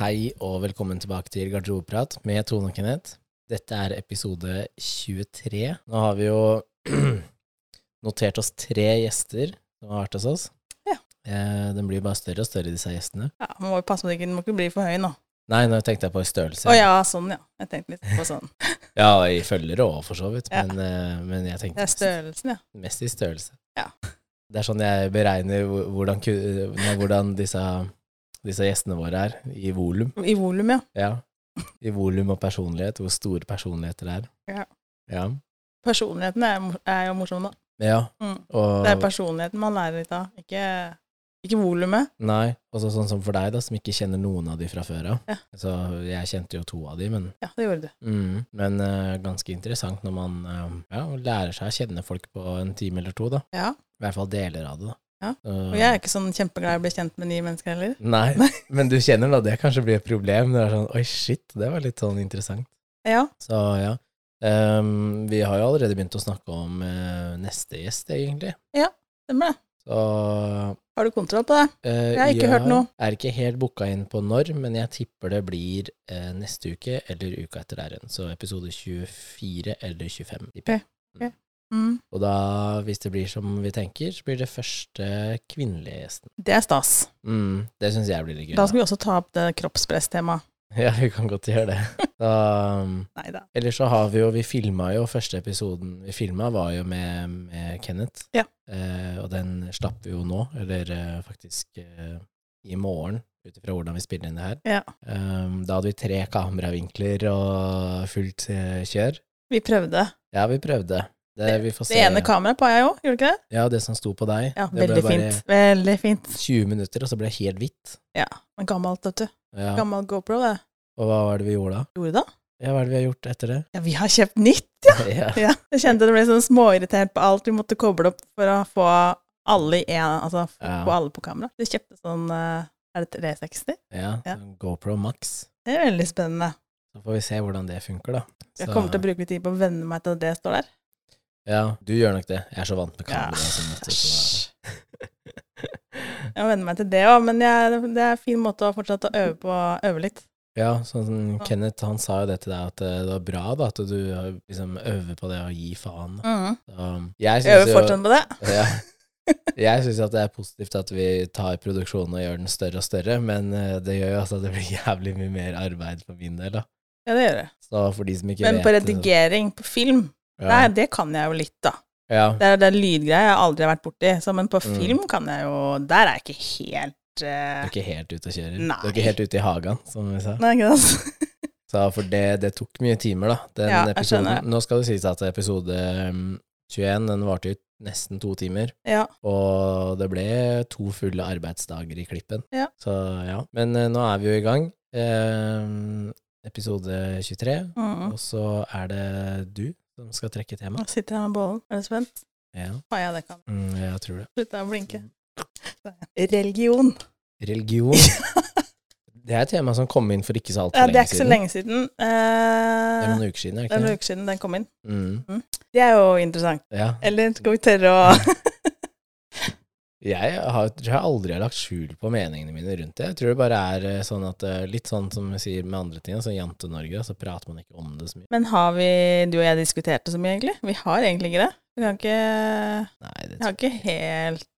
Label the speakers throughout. Speaker 1: Hei og velkommen tilbake til Garderobeprat med Tone og Kenneth. Dette er episode 23. Nå har vi jo notert oss tre gjester som har vært hos oss.
Speaker 2: Ja.
Speaker 1: Eh, den blir bare større og større, disse gjestene.
Speaker 2: Ja, Man må jo passe på at den ikke- den må ikke bli for høy nå.
Speaker 1: Nei, nå tenkte jeg på i størrelse.
Speaker 2: Å ja, sånn, ja. Jeg tenkte litt på sånn.
Speaker 1: Ja, og i følgere òg, for så vidt.
Speaker 2: Ja.
Speaker 1: Men, eh, men jeg
Speaker 2: Det er
Speaker 1: tenkte mest,
Speaker 2: størrelsen, ja.
Speaker 1: mest i størrelse.
Speaker 2: Ja.
Speaker 1: Det er sånn jeg beregner hvor- hvordan, ku- nei, hvordan disse, disse gjestene våre er i volum.
Speaker 2: I volum, ja.
Speaker 1: Ja. I volum og personlighet, hvor store personligheter det er.
Speaker 2: Ja.
Speaker 1: Ja.
Speaker 2: Personligheten er, mor- er jo morsom, da.
Speaker 1: ja.
Speaker 2: Mm.
Speaker 1: Og,
Speaker 2: Det er personligheten man lærer litt av, ikke, ikke volumet.
Speaker 1: nei, og så sånn som for deg, da, som ikke kjenner noen av de fra før av.
Speaker 2: Ja.
Speaker 1: Så jeg kjente jo to av de, men,
Speaker 2: Ja, det gjorde du.
Speaker 1: mm, men eh, ganske interessant når man eh, ja, lærer seg å kjenne folk på en time eller to, da.
Speaker 2: Ja.
Speaker 1: I hvert fall deler av det, da.
Speaker 2: Ja.
Speaker 1: Så-
Speaker 2: Og jeg er ikke sånn kjempeglad i å bli kjent med nye mennesker heller.
Speaker 1: Nei, men du kjenner da det kanskje blir et problem. Det er sånn, Oi, shit, det var litt sånn interessant.
Speaker 2: Ja.
Speaker 1: Så ja. Ehm, vi har jo allerede begynt å snakke om eh, neste gjest, egentlig.
Speaker 2: Stemmer det.
Speaker 1: Så
Speaker 2: Har du kontroll på det?
Speaker 1: Eh,
Speaker 2: Jeg har ikke hørt noe.
Speaker 1: Er ikke helt booka inn på når, men jeg tipper det blir eh, neste uke eller uka etter der igjen. Så episode 24 eller 25. tipper jeg.
Speaker 2: Mm.
Speaker 1: Og da, hvis det blir som vi tenker, så blir det første kvinnelige gjesten.
Speaker 2: Det er stas.
Speaker 1: Mm, det syns jeg blir litt gøy.
Speaker 2: Da skal vi også ta opp det kroppspresstemaet.
Speaker 1: Ja, vi kan godt gjøre det. Da, um,
Speaker 2: Nei da.
Speaker 1: Eller så har vi jo Vi filma jo første episoden vi filma, var jo med, med Kenneth.
Speaker 2: Ja.
Speaker 1: Eh, og den slapp vi jo nå, eller eh, faktisk eh, i morgen, ut ifra hvordan vi spiller inn det her.
Speaker 2: Ja.
Speaker 1: Um, da hadde vi tre kameravinkler og fullt eh, kjør.
Speaker 2: Vi prøvde.
Speaker 1: Ja, vi prøvde. Det, vi får
Speaker 2: Det
Speaker 1: se.
Speaker 2: ene kameraet på jeg òg, gjorde ikke det?
Speaker 1: ja, det som sto på deg.
Speaker 2: Ja,
Speaker 1: det
Speaker 2: veldig fint. Veldig fint.
Speaker 1: 20 minutter, og så ble det helt hvitt.
Speaker 2: Men Gammelt, vet du.
Speaker 1: Ja.
Speaker 2: Gammel GoPro, det.
Speaker 1: Og hva var det vi gjorde da?
Speaker 2: Gjorde det?
Speaker 1: Ja, hva er det vi har gjort etter det?
Speaker 2: Ja, vi har kjøpt nytt.
Speaker 1: ja.
Speaker 2: Ja, jeg kjente det ble sånn småirritert på alt. Vi måtte koble opp for å få alle i en, altså f-
Speaker 1: Ja.
Speaker 2: få alle på kamera. Vi kjøpte sånn eh, Er det 360?
Speaker 1: ja.
Speaker 2: Ja.
Speaker 1: sånn GoPro Max.
Speaker 2: Det er veldig spennende.
Speaker 1: Så får vi se hvordan det funker, da.
Speaker 2: Jeg
Speaker 1: Så-
Speaker 2: kommer til å bruke litt tid på å venne meg til at det står der.
Speaker 1: Ja, du gjør nok det. Jeg er så vant med
Speaker 2: Ja.
Speaker 1: kamera. og sånn, vet du, så-
Speaker 2: Æsj. Jeg må venne meg til det òg, men jeg, det er en fin måte å fortsette å øve på, øve litt.
Speaker 1: Ja, sånn som Kenneth han sa jo det til deg, at eh, det var bra da, at du eh, liksom øver på det å gi faen. da. Så, um, jeg
Speaker 2: Jeg øver
Speaker 1: synes jo-
Speaker 2: fortsatt på det.
Speaker 1: Ja. Jeg syns det er positivt at vi tar produksjonen og gjør den større og større, men eh, det gjør jo altså at det blir jævlig mye mer arbeid for min del. da.
Speaker 2: Ja, det gjør jeg.
Speaker 1: Så for de som ikke
Speaker 2: Men
Speaker 1: vet
Speaker 2: på redigering, på film,
Speaker 1: liksom. Ja.
Speaker 2: nei, det kan jeg jo litt, da.
Speaker 1: ja.
Speaker 2: Det er den lydgreia jeg aldri har vært borti, så, men på
Speaker 1: Mm.
Speaker 2: film kan jeg jo Der er jeg ikke helt
Speaker 1: Du
Speaker 2: eh,
Speaker 1: er ikke helt ute og kjører. Du
Speaker 2: Nei.
Speaker 1: er ikke helt ute i hagen, som vi sa.
Speaker 2: Nei, ikke sant?
Speaker 1: Så for det, det tok mye timer, da. Den
Speaker 2: Ja, jeg skjønner
Speaker 1: episoden. Nå skal det sies at episode mm, 21 den varte ut nesten to timer,
Speaker 2: Ja.
Speaker 1: og det ble to fulle arbeidsdager i klippen.
Speaker 2: Ja.
Speaker 1: Så ja. Men eh, nå er vi jo i gang. Eh, episode 23.
Speaker 2: Mm.
Speaker 1: Og så er det du som skal trekke tema.
Speaker 2: Nå sitter jeg med bollen. Er du spent?
Speaker 1: Ja,
Speaker 2: Har jeg det kan.
Speaker 1: mm, jeg tror det.
Speaker 2: Slutt å blinke.
Speaker 1: Mm.
Speaker 2: Religion.
Speaker 1: Religion. Det er et tema som kom inn for ikke så altfor
Speaker 2: Ja, det er
Speaker 1: lenge
Speaker 2: ikke så
Speaker 1: siden.
Speaker 2: lenge siden.
Speaker 1: Det
Speaker 2: Eh,
Speaker 1: er noen uker siden, er det
Speaker 2: det er
Speaker 1: ikke
Speaker 2: noen
Speaker 1: det?
Speaker 2: uker siden den kom inn.
Speaker 1: Mm,
Speaker 2: Det er jo interessant.
Speaker 1: ja.
Speaker 2: Eller skal vi tørre å
Speaker 1: Jeg har, tror jeg aldri har lagt skjul på meningene mine rundt det. Jeg tror det bare er eh, sånn at eh, litt sånn som vi sier med andre ting, altså Jante-Norge, så prater man ikke om det så mye.
Speaker 2: Men har vi, du og jeg, diskutert det så mye, egentlig? Vi har egentlig ikke det. Vi har ikke,
Speaker 1: Nei, det
Speaker 2: jeg har ikke helt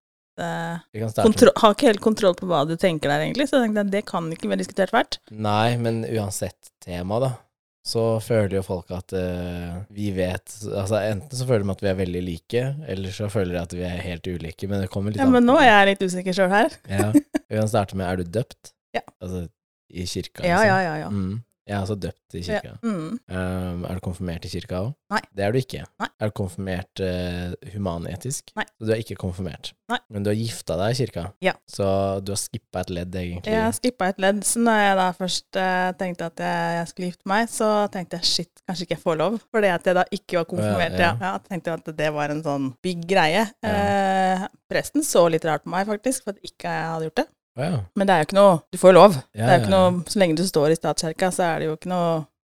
Speaker 2: eh,
Speaker 1: vi kan starte
Speaker 2: kontro Har ikke helt kontroll på hva du tenker der, egentlig. Så jeg tenkte at det kan ikke vi ha diskutert hvert.
Speaker 1: Nei, men uansett tema, da, så føler jo folk at eh, vi vet Altså enten så føler de at vi er veldig like, eller så føler de at vi er helt ulike, men det kommer litt
Speaker 2: Ja, men nå er jeg litt usikker sjøl her.
Speaker 1: Ja. Vi kan starte med er du døpt?
Speaker 2: Ja.
Speaker 1: Altså i kirka,
Speaker 2: Ja, ja, ja. ja.
Speaker 1: Mm. Jeg er altså døpt i kirka.
Speaker 2: ja. Mm.
Speaker 1: Um, er du konfirmert i kirka òg?
Speaker 2: Nei.
Speaker 1: Det er du ikke.
Speaker 2: Nei.
Speaker 1: Er du konfirmert uh, humanetisk?
Speaker 2: Nei.
Speaker 1: Så du er ikke konfirmert.
Speaker 2: Nei.
Speaker 1: Men du har gifta deg i kirka,
Speaker 2: Ja.
Speaker 1: så du har skippa et ledd, egentlig.
Speaker 2: Jeg skippa et ledd, så når jeg da først eh, tenkte at jeg, jeg skulle gifte meg, så tenkte jeg shit, kanskje ikke jeg får lov. Fordi at jeg da ikke var konfirmert.
Speaker 1: Ja,
Speaker 2: Ja,
Speaker 1: ja.
Speaker 2: ja. tenkte jo at det var en sånn big greie. Eh, presten så litt rart på meg, faktisk, for at ikke jeg hadde gjort det.
Speaker 1: Å, ja.
Speaker 2: Men det er jo ikke noe Du får jo lov.
Speaker 1: Ja,
Speaker 2: det er jo
Speaker 1: ja,
Speaker 2: ikke noe, Så lenge du står i statskirka, så er det jo ikke noe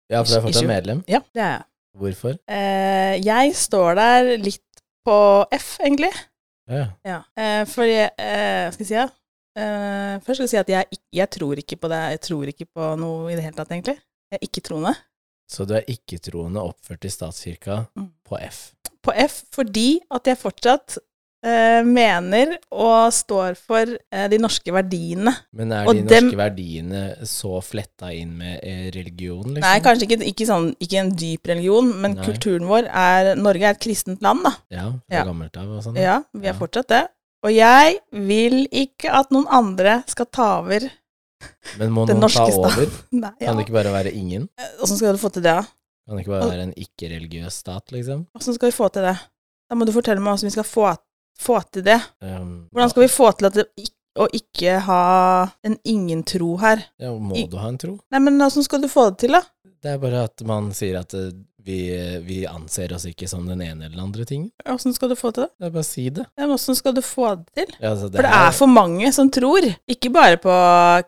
Speaker 1: ja, for du er
Speaker 2: Ikke-
Speaker 1: fortsatt medlem.
Speaker 2: Ja, det er jeg.
Speaker 1: Hvorfor?
Speaker 2: Eh, jeg står der litt på F, egentlig.
Speaker 1: Ja, ja.
Speaker 2: Ja. Eh, fordi eh, Hva skal jeg si? Ja? Eh, først skal jeg si at jeg, ikk- jeg tror ikke på det. Jeg tror ikke på noe i det hele tatt, egentlig. Jeg er ikke troende.
Speaker 1: Så du er ikke-troende oppført i statskirka
Speaker 2: Mm.
Speaker 1: på F.
Speaker 2: På F fordi at jeg fortsatt eh, mener og står for eh, de norske verdiene.
Speaker 1: Men er
Speaker 2: Og
Speaker 1: de
Speaker 2: dem-
Speaker 1: norske verdiene så fletta inn med eh, religion, liksom?
Speaker 2: Nei, kanskje ikke, ikke, sånn, ikke en dyp religion, men
Speaker 1: Nei.
Speaker 2: kulturen vår er Norge er et kristent land, da.
Speaker 1: Ja, fra
Speaker 2: Ja.
Speaker 1: gammelt av og sånn.
Speaker 2: Ja, vi er
Speaker 1: Ja.
Speaker 2: fortsatt det. Og jeg vil ikke at noen andre skal ta over.
Speaker 1: Men må
Speaker 2: Den
Speaker 1: noen ta
Speaker 2: norske stat.
Speaker 1: over?
Speaker 2: Nei, ja.
Speaker 1: Kan det ikke bare være ingen?
Speaker 2: Åssen skal du få til det, da?
Speaker 1: Kan det ikke bare være en ikke-religiøs stat, liksom?
Speaker 2: Åssen skal vi få til det? Da må du fortelle meg hvordan vi skal få, få til det.
Speaker 1: Um,
Speaker 2: Hvordan skal vi få til at det, ikk- å ikke ha en ingen-tro her?
Speaker 1: Ja, må
Speaker 2: i-
Speaker 1: du ha en tro?
Speaker 2: Nei, men åssen skal du få det til, da?
Speaker 1: Det er bare at man sier at eh, vi, vi anser oss ikke som den ene eller den andre tingen.
Speaker 2: Åssen skal du få til det?
Speaker 1: Det er bare å si det.
Speaker 2: Ja, men Åssen skal du få det til?
Speaker 1: Ja, altså,
Speaker 2: For det er for mange som tror. Ikke bare på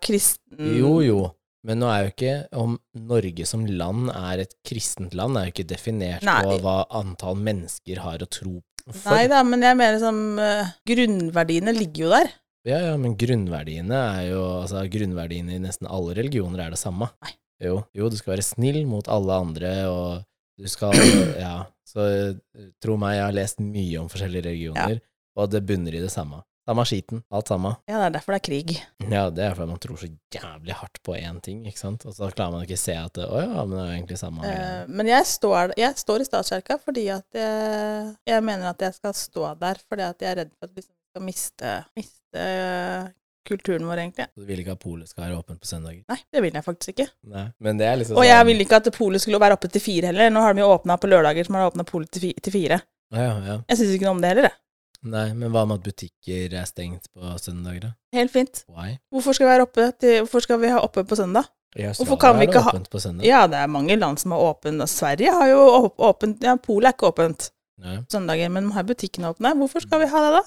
Speaker 2: kristen
Speaker 1: Jo, jo. Men nå er jo ikke om Norge som land er et kristent land, er jo ikke definert på
Speaker 2: Nei.
Speaker 1: hva antall mennesker har å tro for.
Speaker 2: Nei da, men jeg mener som eh, Grunnverdiene ligger jo der.
Speaker 1: Ja, ja, men grunnverdiene er jo Altså, grunnverdiene i nesten alle religioner er det samme.
Speaker 2: Nei.
Speaker 1: Jo, jo, du skal være snill mot alle andre, og du skal Ja. Så eh, tro meg, jeg har lest mye om forskjellige religioner, og det bunner i det samme. Samme skiten, alt samme.
Speaker 2: Ja, det er derfor det er krig.
Speaker 1: Ja, det er fordi man tror så jævlig hardt på én ting, ikke sant, og så klarer man ikke se at det, Å ja, men det er jo egentlig samme. greia».
Speaker 2: Eh, men jeg står, jeg står i statskirka fordi at jeg, jeg mener at jeg skal stå der, fordi at jeg er redd for at vi skal miste, miste eh, kulturen vår, egentlig.
Speaker 1: Så du vil ikke at polet skal være åpent på søndager?
Speaker 2: Nei, det vil jeg faktisk ikke.
Speaker 1: Nei. Men det er liksom
Speaker 2: Og jeg vil ikke at polet skulle være oppe til fire heller. Nå har de jo åpna på lørdager, som har åpna polet til, fi, til fire.
Speaker 1: Ja, ja, ja.
Speaker 2: Jeg syns ikke noe om det heller, jeg.
Speaker 1: Nei, men hva med at butikker er stengt på søndager, da?
Speaker 2: Helt fint.
Speaker 1: Why?
Speaker 2: Hvorfor skal vi, være oppe til, hvorfor skal vi ha oppe på søndag?
Speaker 1: I
Speaker 2: Hvorfor kan
Speaker 1: Australia er det
Speaker 2: vi ikke ha-
Speaker 1: åpent på søndag.
Speaker 2: Ja, det er mange land som har åpent. og Sverige har jo åp- åpent. Ja, polet er ikke åpent
Speaker 1: Nei,
Speaker 2: på søndager, men de har butikkene åpne. Hvorfor skal vi ha det, da?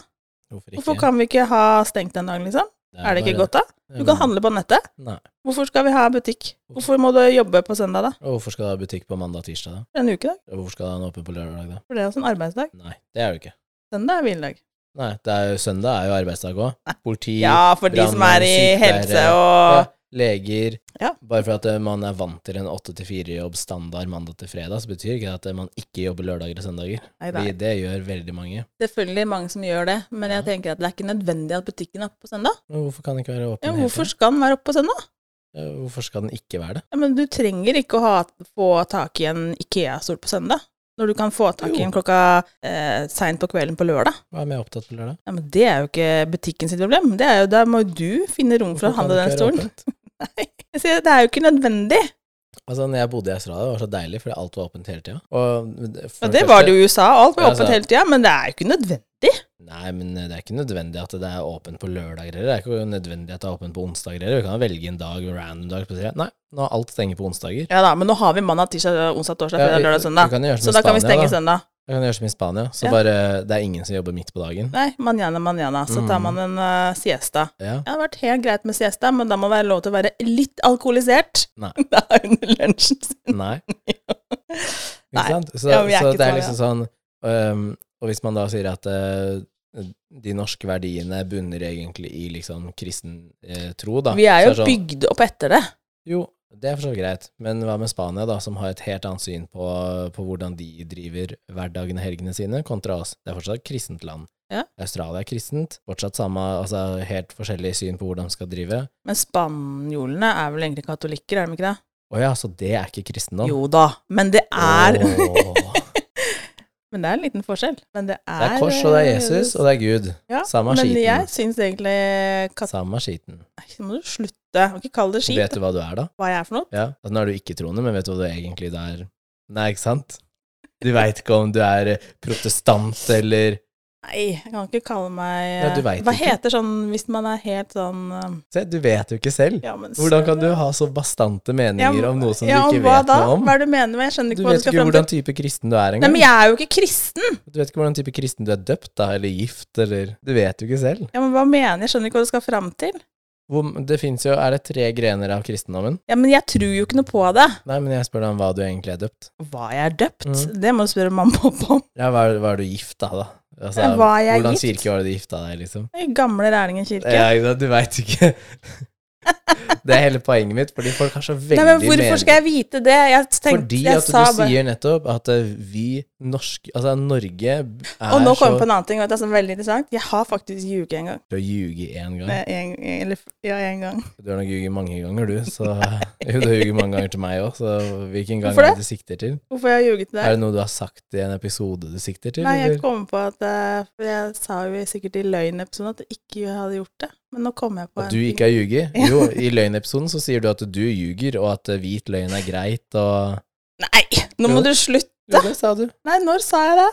Speaker 1: hvorfor ikke?
Speaker 2: Hvorfor kan vi ikke ha stengt den dagen, liksom? Er det ikke godt, da? Du kan handle på nettet.
Speaker 1: Nei.
Speaker 2: Hvorfor skal vi ha butikk? Hvorfor må du jobbe på søndag, da?
Speaker 1: Og hvorfor skal du ha butikk på mandag og tirsdag, da?
Speaker 2: En ukedag?
Speaker 1: Og hvorfor skal du ha den åpen på lørdag, da?
Speaker 2: For det er også en arbeidsdag.
Speaker 1: Nei, det er det ikke.
Speaker 2: Søndag er hviledag.
Speaker 1: Nei, det er jo søndag er jo arbeidsdag òg. Politi,
Speaker 2: Ja, for de som er i
Speaker 1: brannmenn,
Speaker 2: helse
Speaker 1: sykepleiere, ja,
Speaker 2: og
Speaker 1: leger
Speaker 2: Ja.
Speaker 1: Bare for at eh, man er vant til en åtte til fire-jobb standard mandag til fredag, så betyr ikke det at eh, man ikke jobber lørdager og søndager.
Speaker 2: Nei, det
Speaker 1: Fordi
Speaker 2: er
Speaker 1: det gjør veldig mange.
Speaker 2: selvfølgelig mange som gjør det, men
Speaker 1: Ja.
Speaker 2: jeg tenker at det er ikke nødvendig at butikken er oppe på søndag.
Speaker 1: Men hvorfor kan den ikke være åpen?
Speaker 2: Ja,
Speaker 1: hele
Speaker 2: hvorfor
Speaker 1: tiden?
Speaker 2: skal den være oppe på søndag?
Speaker 1: Ja, hvorfor skal den ikke være det?
Speaker 2: Ja, men du trenger ikke å ha, få tak i en Ikea-stol på søndag. Når du kan få tak i en klokka eh, seint på kvelden på lørdag.
Speaker 1: Hva er vi opptatt på lørdag?
Speaker 2: Ja, men Det er jo ikke butikken sitt problem. Det er jo, Der må jo du finne rom for å
Speaker 1: Hvorfor kan det
Speaker 2: handle den
Speaker 1: ikke være
Speaker 2: stolen. Nei, jeg sier, det er jo ikke nødvendig.
Speaker 1: Altså, når jeg bodde i Australia, det var så deilig, fordi alt var åpent hele tida. Og for
Speaker 2: Ja, det var
Speaker 1: første-
Speaker 2: det jo i USA. Alt var
Speaker 1: Ja,
Speaker 2: åpent
Speaker 1: altså-
Speaker 2: hele tida, men det er jo ikke nødvendig.
Speaker 1: Nei, men eh, det er ikke nødvendig at det er åpent på lørdager heller. Det er ikke nødvendig at det er åpent på onsdager heller. Vi kan velge en dag, en random dag. på tre. Nei, nå er alt stenger på onsdager.
Speaker 2: Ja da, men nå har vi mandag, tirsdag, onsdag, torsdag, fredag, lørdag,
Speaker 1: Du
Speaker 2: søndag.
Speaker 1: kan jo gjøre
Speaker 2: Så
Speaker 1: som
Speaker 2: da
Speaker 1: i
Speaker 2: kan vi
Speaker 1: Spania,
Speaker 2: stenge
Speaker 1: da.
Speaker 2: søndag.
Speaker 1: Du kan gjøre som i Spania. Så
Speaker 2: Ja.
Speaker 1: bare det er ingen som jobber midt på dagen.
Speaker 2: Nei, manjana, manjana. Så tar
Speaker 1: Mm.
Speaker 2: man en eh, siesta.
Speaker 1: Ja.
Speaker 2: Ja, det har vært helt greit med siesta, men da må det være lov til å være litt alkoholisert.
Speaker 1: Nei.
Speaker 2: Da under lunsjen sin.
Speaker 1: Nei. Ikke
Speaker 2: Nei.
Speaker 1: sant? Så,
Speaker 2: Ja, vi er
Speaker 1: så
Speaker 2: ikke
Speaker 1: det er
Speaker 2: så,
Speaker 1: liksom sånn øhm, Og hvis man da sier at øh, de norske verdiene bunner egentlig i liksom kristen eh, tro, da
Speaker 2: Vi er jo
Speaker 1: så sånn-
Speaker 2: bygd opp etter det.
Speaker 1: Jo, det er for så vidt greit, men hva med Spania, da, som har et helt annet syn på, på hvordan de driver hverdagen og helgene sine, kontra oss. Det er fortsatt et kristent land.
Speaker 2: Ja.
Speaker 1: Australia er kristent, fortsatt samme, altså helt forskjellig syn på hvordan de skal drive.
Speaker 2: Men spanjolene er vel egentlig katolikker, er de ikke det?
Speaker 1: Å ja, så det er ikke kristendom?
Speaker 2: Jo da, men det er
Speaker 1: Åh.
Speaker 2: Men det er en liten forskjell. Men det er
Speaker 1: Det er kors, og det er Jesus, og det er Gud.
Speaker 2: ja,
Speaker 1: Samme
Speaker 2: men
Speaker 1: skiten.
Speaker 2: jeg syns egentlig kat...
Speaker 1: Samme skiten.
Speaker 2: Nei, nå må du slutte. Du kan ikke kalle det
Speaker 1: Og
Speaker 2: skit,
Speaker 1: vet du hva du er, da?
Speaker 2: hva jeg er for noe.
Speaker 1: Ja, altså, Nå er du ikke-troende, men vet du hva du egentlig det er? Nei, ikke sant? Du veit ikke om du er protestant eller
Speaker 2: Nei, jeg kan ikke kalle meg
Speaker 1: Ja, du vet
Speaker 2: Hva
Speaker 1: ikke.
Speaker 2: heter sånn hvis man er helt sånn eh,
Speaker 1: Se, du vet jo ikke selv.
Speaker 2: ja, men,
Speaker 1: Hvordan kan du ha så bastante meninger om noe som
Speaker 2: ja,
Speaker 1: du ikke
Speaker 2: om hva
Speaker 1: vet
Speaker 2: da?
Speaker 1: noe om?
Speaker 2: Hva er det du mener med Jeg
Speaker 1: Du
Speaker 2: skjønner ikke hva
Speaker 1: vet
Speaker 2: du skal
Speaker 1: ikke
Speaker 2: fram
Speaker 1: hvordan
Speaker 2: til.
Speaker 1: type kristen du er
Speaker 2: Nei,
Speaker 1: engang.
Speaker 2: men jeg er jo ikke kristen!
Speaker 1: Du vet ikke hvordan type kristen du er døpt da, eller gift, eller Du vet jo ikke selv.
Speaker 2: Ja, men hva mener jeg? Jeg skjønner ikke hva du skal fram til.
Speaker 1: Hvor, det fins jo Er det tre grener av kristendommen?
Speaker 2: Ja, men jeg tror jo ikke noe på det.
Speaker 1: Nei, men jeg spør deg om hva du egentlig er døpt.
Speaker 2: Hva jeg er døpt?
Speaker 1: Mm.
Speaker 2: Det må du spørre mamma og pappa om.
Speaker 1: Ja, hva, er- hva er du gifta, da? Altså,
Speaker 2: Ja, hva er jeg
Speaker 1: hvordan
Speaker 2: gift?
Speaker 1: kirke var det du gifta deg, liksom?
Speaker 2: I gamle Rælingen kirke.
Speaker 1: Ja, ikke sant? du veit ikke. det er hele poenget mitt, fordi folk har så veldig
Speaker 2: Nei, men hvorfor skal jeg vite det? Jeg tenkte,
Speaker 1: Fordi
Speaker 2: jeg
Speaker 1: at
Speaker 2: sa
Speaker 1: du
Speaker 2: bare
Speaker 1: sier nettopp at eh, vi norske Altså, Norge er
Speaker 2: Og
Speaker 1: så
Speaker 2: nå kommer jeg på en annen ting, og det er så veldig interessant. Jeg har faktisk ljuget en gang.
Speaker 1: Du har ljuget én gang.
Speaker 2: Nei, en, eller, ja, en gang.
Speaker 1: Du har nok ljuget mange ganger, du. Så, jo, du har ljuget mange ganger til meg òg, så hvilken gang
Speaker 2: Hvorfor
Speaker 1: er
Speaker 2: det?
Speaker 1: det du sikter til?
Speaker 2: Hvorfor har jeg ljuget til
Speaker 1: Er
Speaker 2: deg?
Speaker 1: det noe du har sagt i en episode du sikter til?
Speaker 2: Nei, jeg
Speaker 1: eller?
Speaker 2: kom på at eh, For jeg sa jo sikkert i løgnepisoden at jeg ikke hadde gjort det. Men nå kom jeg på
Speaker 1: At
Speaker 2: en
Speaker 1: du
Speaker 2: ting.
Speaker 1: ikke har ljuget? Jo, i løgnepisoden så sier du at du ljuger, og at eh, hvit løgn er greit, og
Speaker 2: Nei! Nå må
Speaker 1: Jo.
Speaker 2: du slutte!
Speaker 1: Jo, det sa du.
Speaker 2: Nei, når sa jeg det?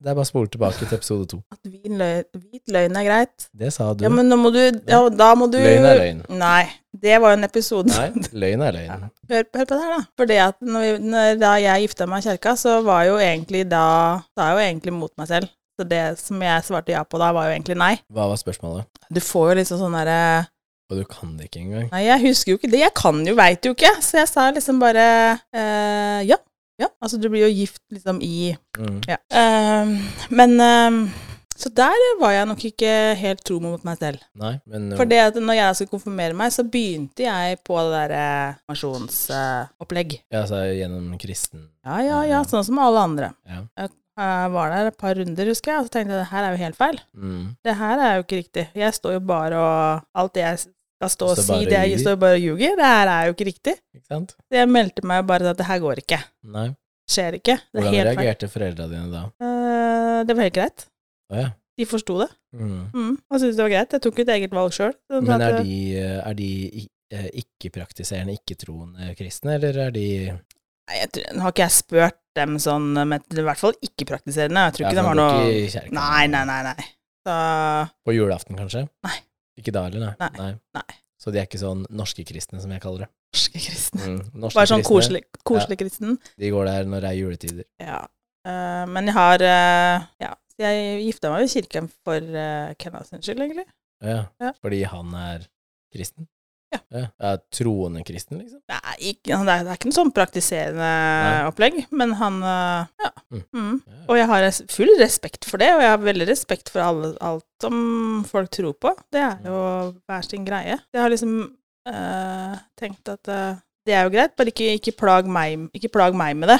Speaker 1: Det er bare å spole tilbake til episode to.
Speaker 2: At hvit løgn, hvit løgn er greit.
Speaker 1: Det sa du.
Speaker 2: Ja, men nå må du ja, Da må du
Speaker 1: Løgn er løgn.
Speaker 2: Nei. Det var jo en episode.
Speaker 1: Nei, løgn er løgn.
Speaker 2: Hør, hør på det her, da. For det at når, vi, når da jeg gifta meg i kirka, så var jo egentlig da Da er jo egentlig mot meg selv. Så det som jeg svarte ja på da, var jo egentlig nei.
Speaker 1: Hva var spørsmålet?
Speaker 2: Du får jo liksom sånn derre
Speaker 1: Og du kan det ikke engang.
Speaker 2: Nei, jeg husker jo ikke det. Jeg kan jo, veit jo ikke. Så jeg sa liksom bare eh, ja. Ja. Altså, du blir jo gift liksom i
Speaker 1: Mm.
Speaker 2: Ja. Ehm, men ehm, Så der var jeg nok ikke helt tro mot meg selv.
Speaker 1: Nei, men
Speaker 2: For det at når jeg skulle konfirmere meg, så begynte jeg på det derre pensjonsopplegg.
Speaker 1: Altså gjennom kristen
Speaker 2: Ja, ja, ja, sånn som alle andre.
Speaker 1: Ja.
Speaker 2: Jeg eh, var der et par runder, husker jeg, og så tenkte jeg det her er jo helt feil.
Speaker 1: mm.
Speaker 2: Det her er jo ikke riktig. Jeg står jo bare og Alt det jeg skal stå og
Speaker 1: Står
Speaker 2: si,
Speaker 1: bare og
Speaker 2: det jeg
Speaker 1: ljuger.
Speaker 2: står bare og ljuger. Det her er jo ikke riktig.
Speaker 1: Ikke sant?
Speaker 2: Så jeg meldte meg bare at det her går ikke.
Speaker 1: Nei.
Speaker 2: Skjer ikke. Det
Speaker 1: Hvordan
Speaker 2: er helt feil.
Speaker 1: reagerte foreldra dine da?
Speaker 2: Eh, det var helt greit.
Speaker 1: Å ja.
Speaker 2: De forsto det.
Speaker 1: Mm.
Speaker 2: Mm. Og syntes det var greit. Jeg tok et eget valg sjøl.
Speaker 1: Men er de, er de i- eh, ikke-praktiserende, ikke-troende kristne, eller er de
Speaker 2: Nei, jeg tror, nå har ikke jeg spurt dem sånn, men i hvert fall ikke-praktiserende. Jeg tror
Speaker 1: Ja,
Speaker 2: ikke
Speaker 1: for
Speaker 2: de har
Speaker 1: de går
Speaker 2: noe
Speaker 1: ikke i kirken.
Speaker 2: Nei, nei, nei. nei. Så
Speaker 1: På julaften, kanskje?
Speaker 2: Nei.
Speaker 1: Ikke da heller, nei.
Speaker 2: Nei. Nei.
Speaker 1: Så de er ikke sånn norske kristne, som jeg kaller det.
Speaker 2: norske kristne.
Speaker 1: Mm. Norske
Speaker 2: Bare sånn
Speaker 1: kristne,
Speaker 2: koselig, koselig kristen.
Speaker 1: De går der når det er juletider.
Speaker 2: Ja. Eh, men jeg har eh, Ja, så jeg gifta meg jo i kirken for uh, Kennas sin skyld, egentlig.
Speaker 1: Å ja.
Speaker 2: Ja.
Speaker 1: Fordi han er kristen?
Speaker 2: Ja.
Speaker 1: Er troende kristen, liksom?
Speaker 2: Nei, ikke, det, er, det er ikke noe sånn praktiserende
Speaker 1: Nei.
Speaker 2: opplegg, men han eh, Ja.
Speaker 1: Mm.
Speaker 2: Mm.
Speaker 1: Ja.
Speaker 2: Og jeg har res- full respekt for det, og jeg har veldig respekt for alle, alt som folk tror på. Det er jo
Speaker 1: Mm.
Speaker 2: hver sin greie. Jeg har liksom eh, tenkt at eh, det er jo greit, bare ikke, ikke, plag meg, ikke plag meg med det.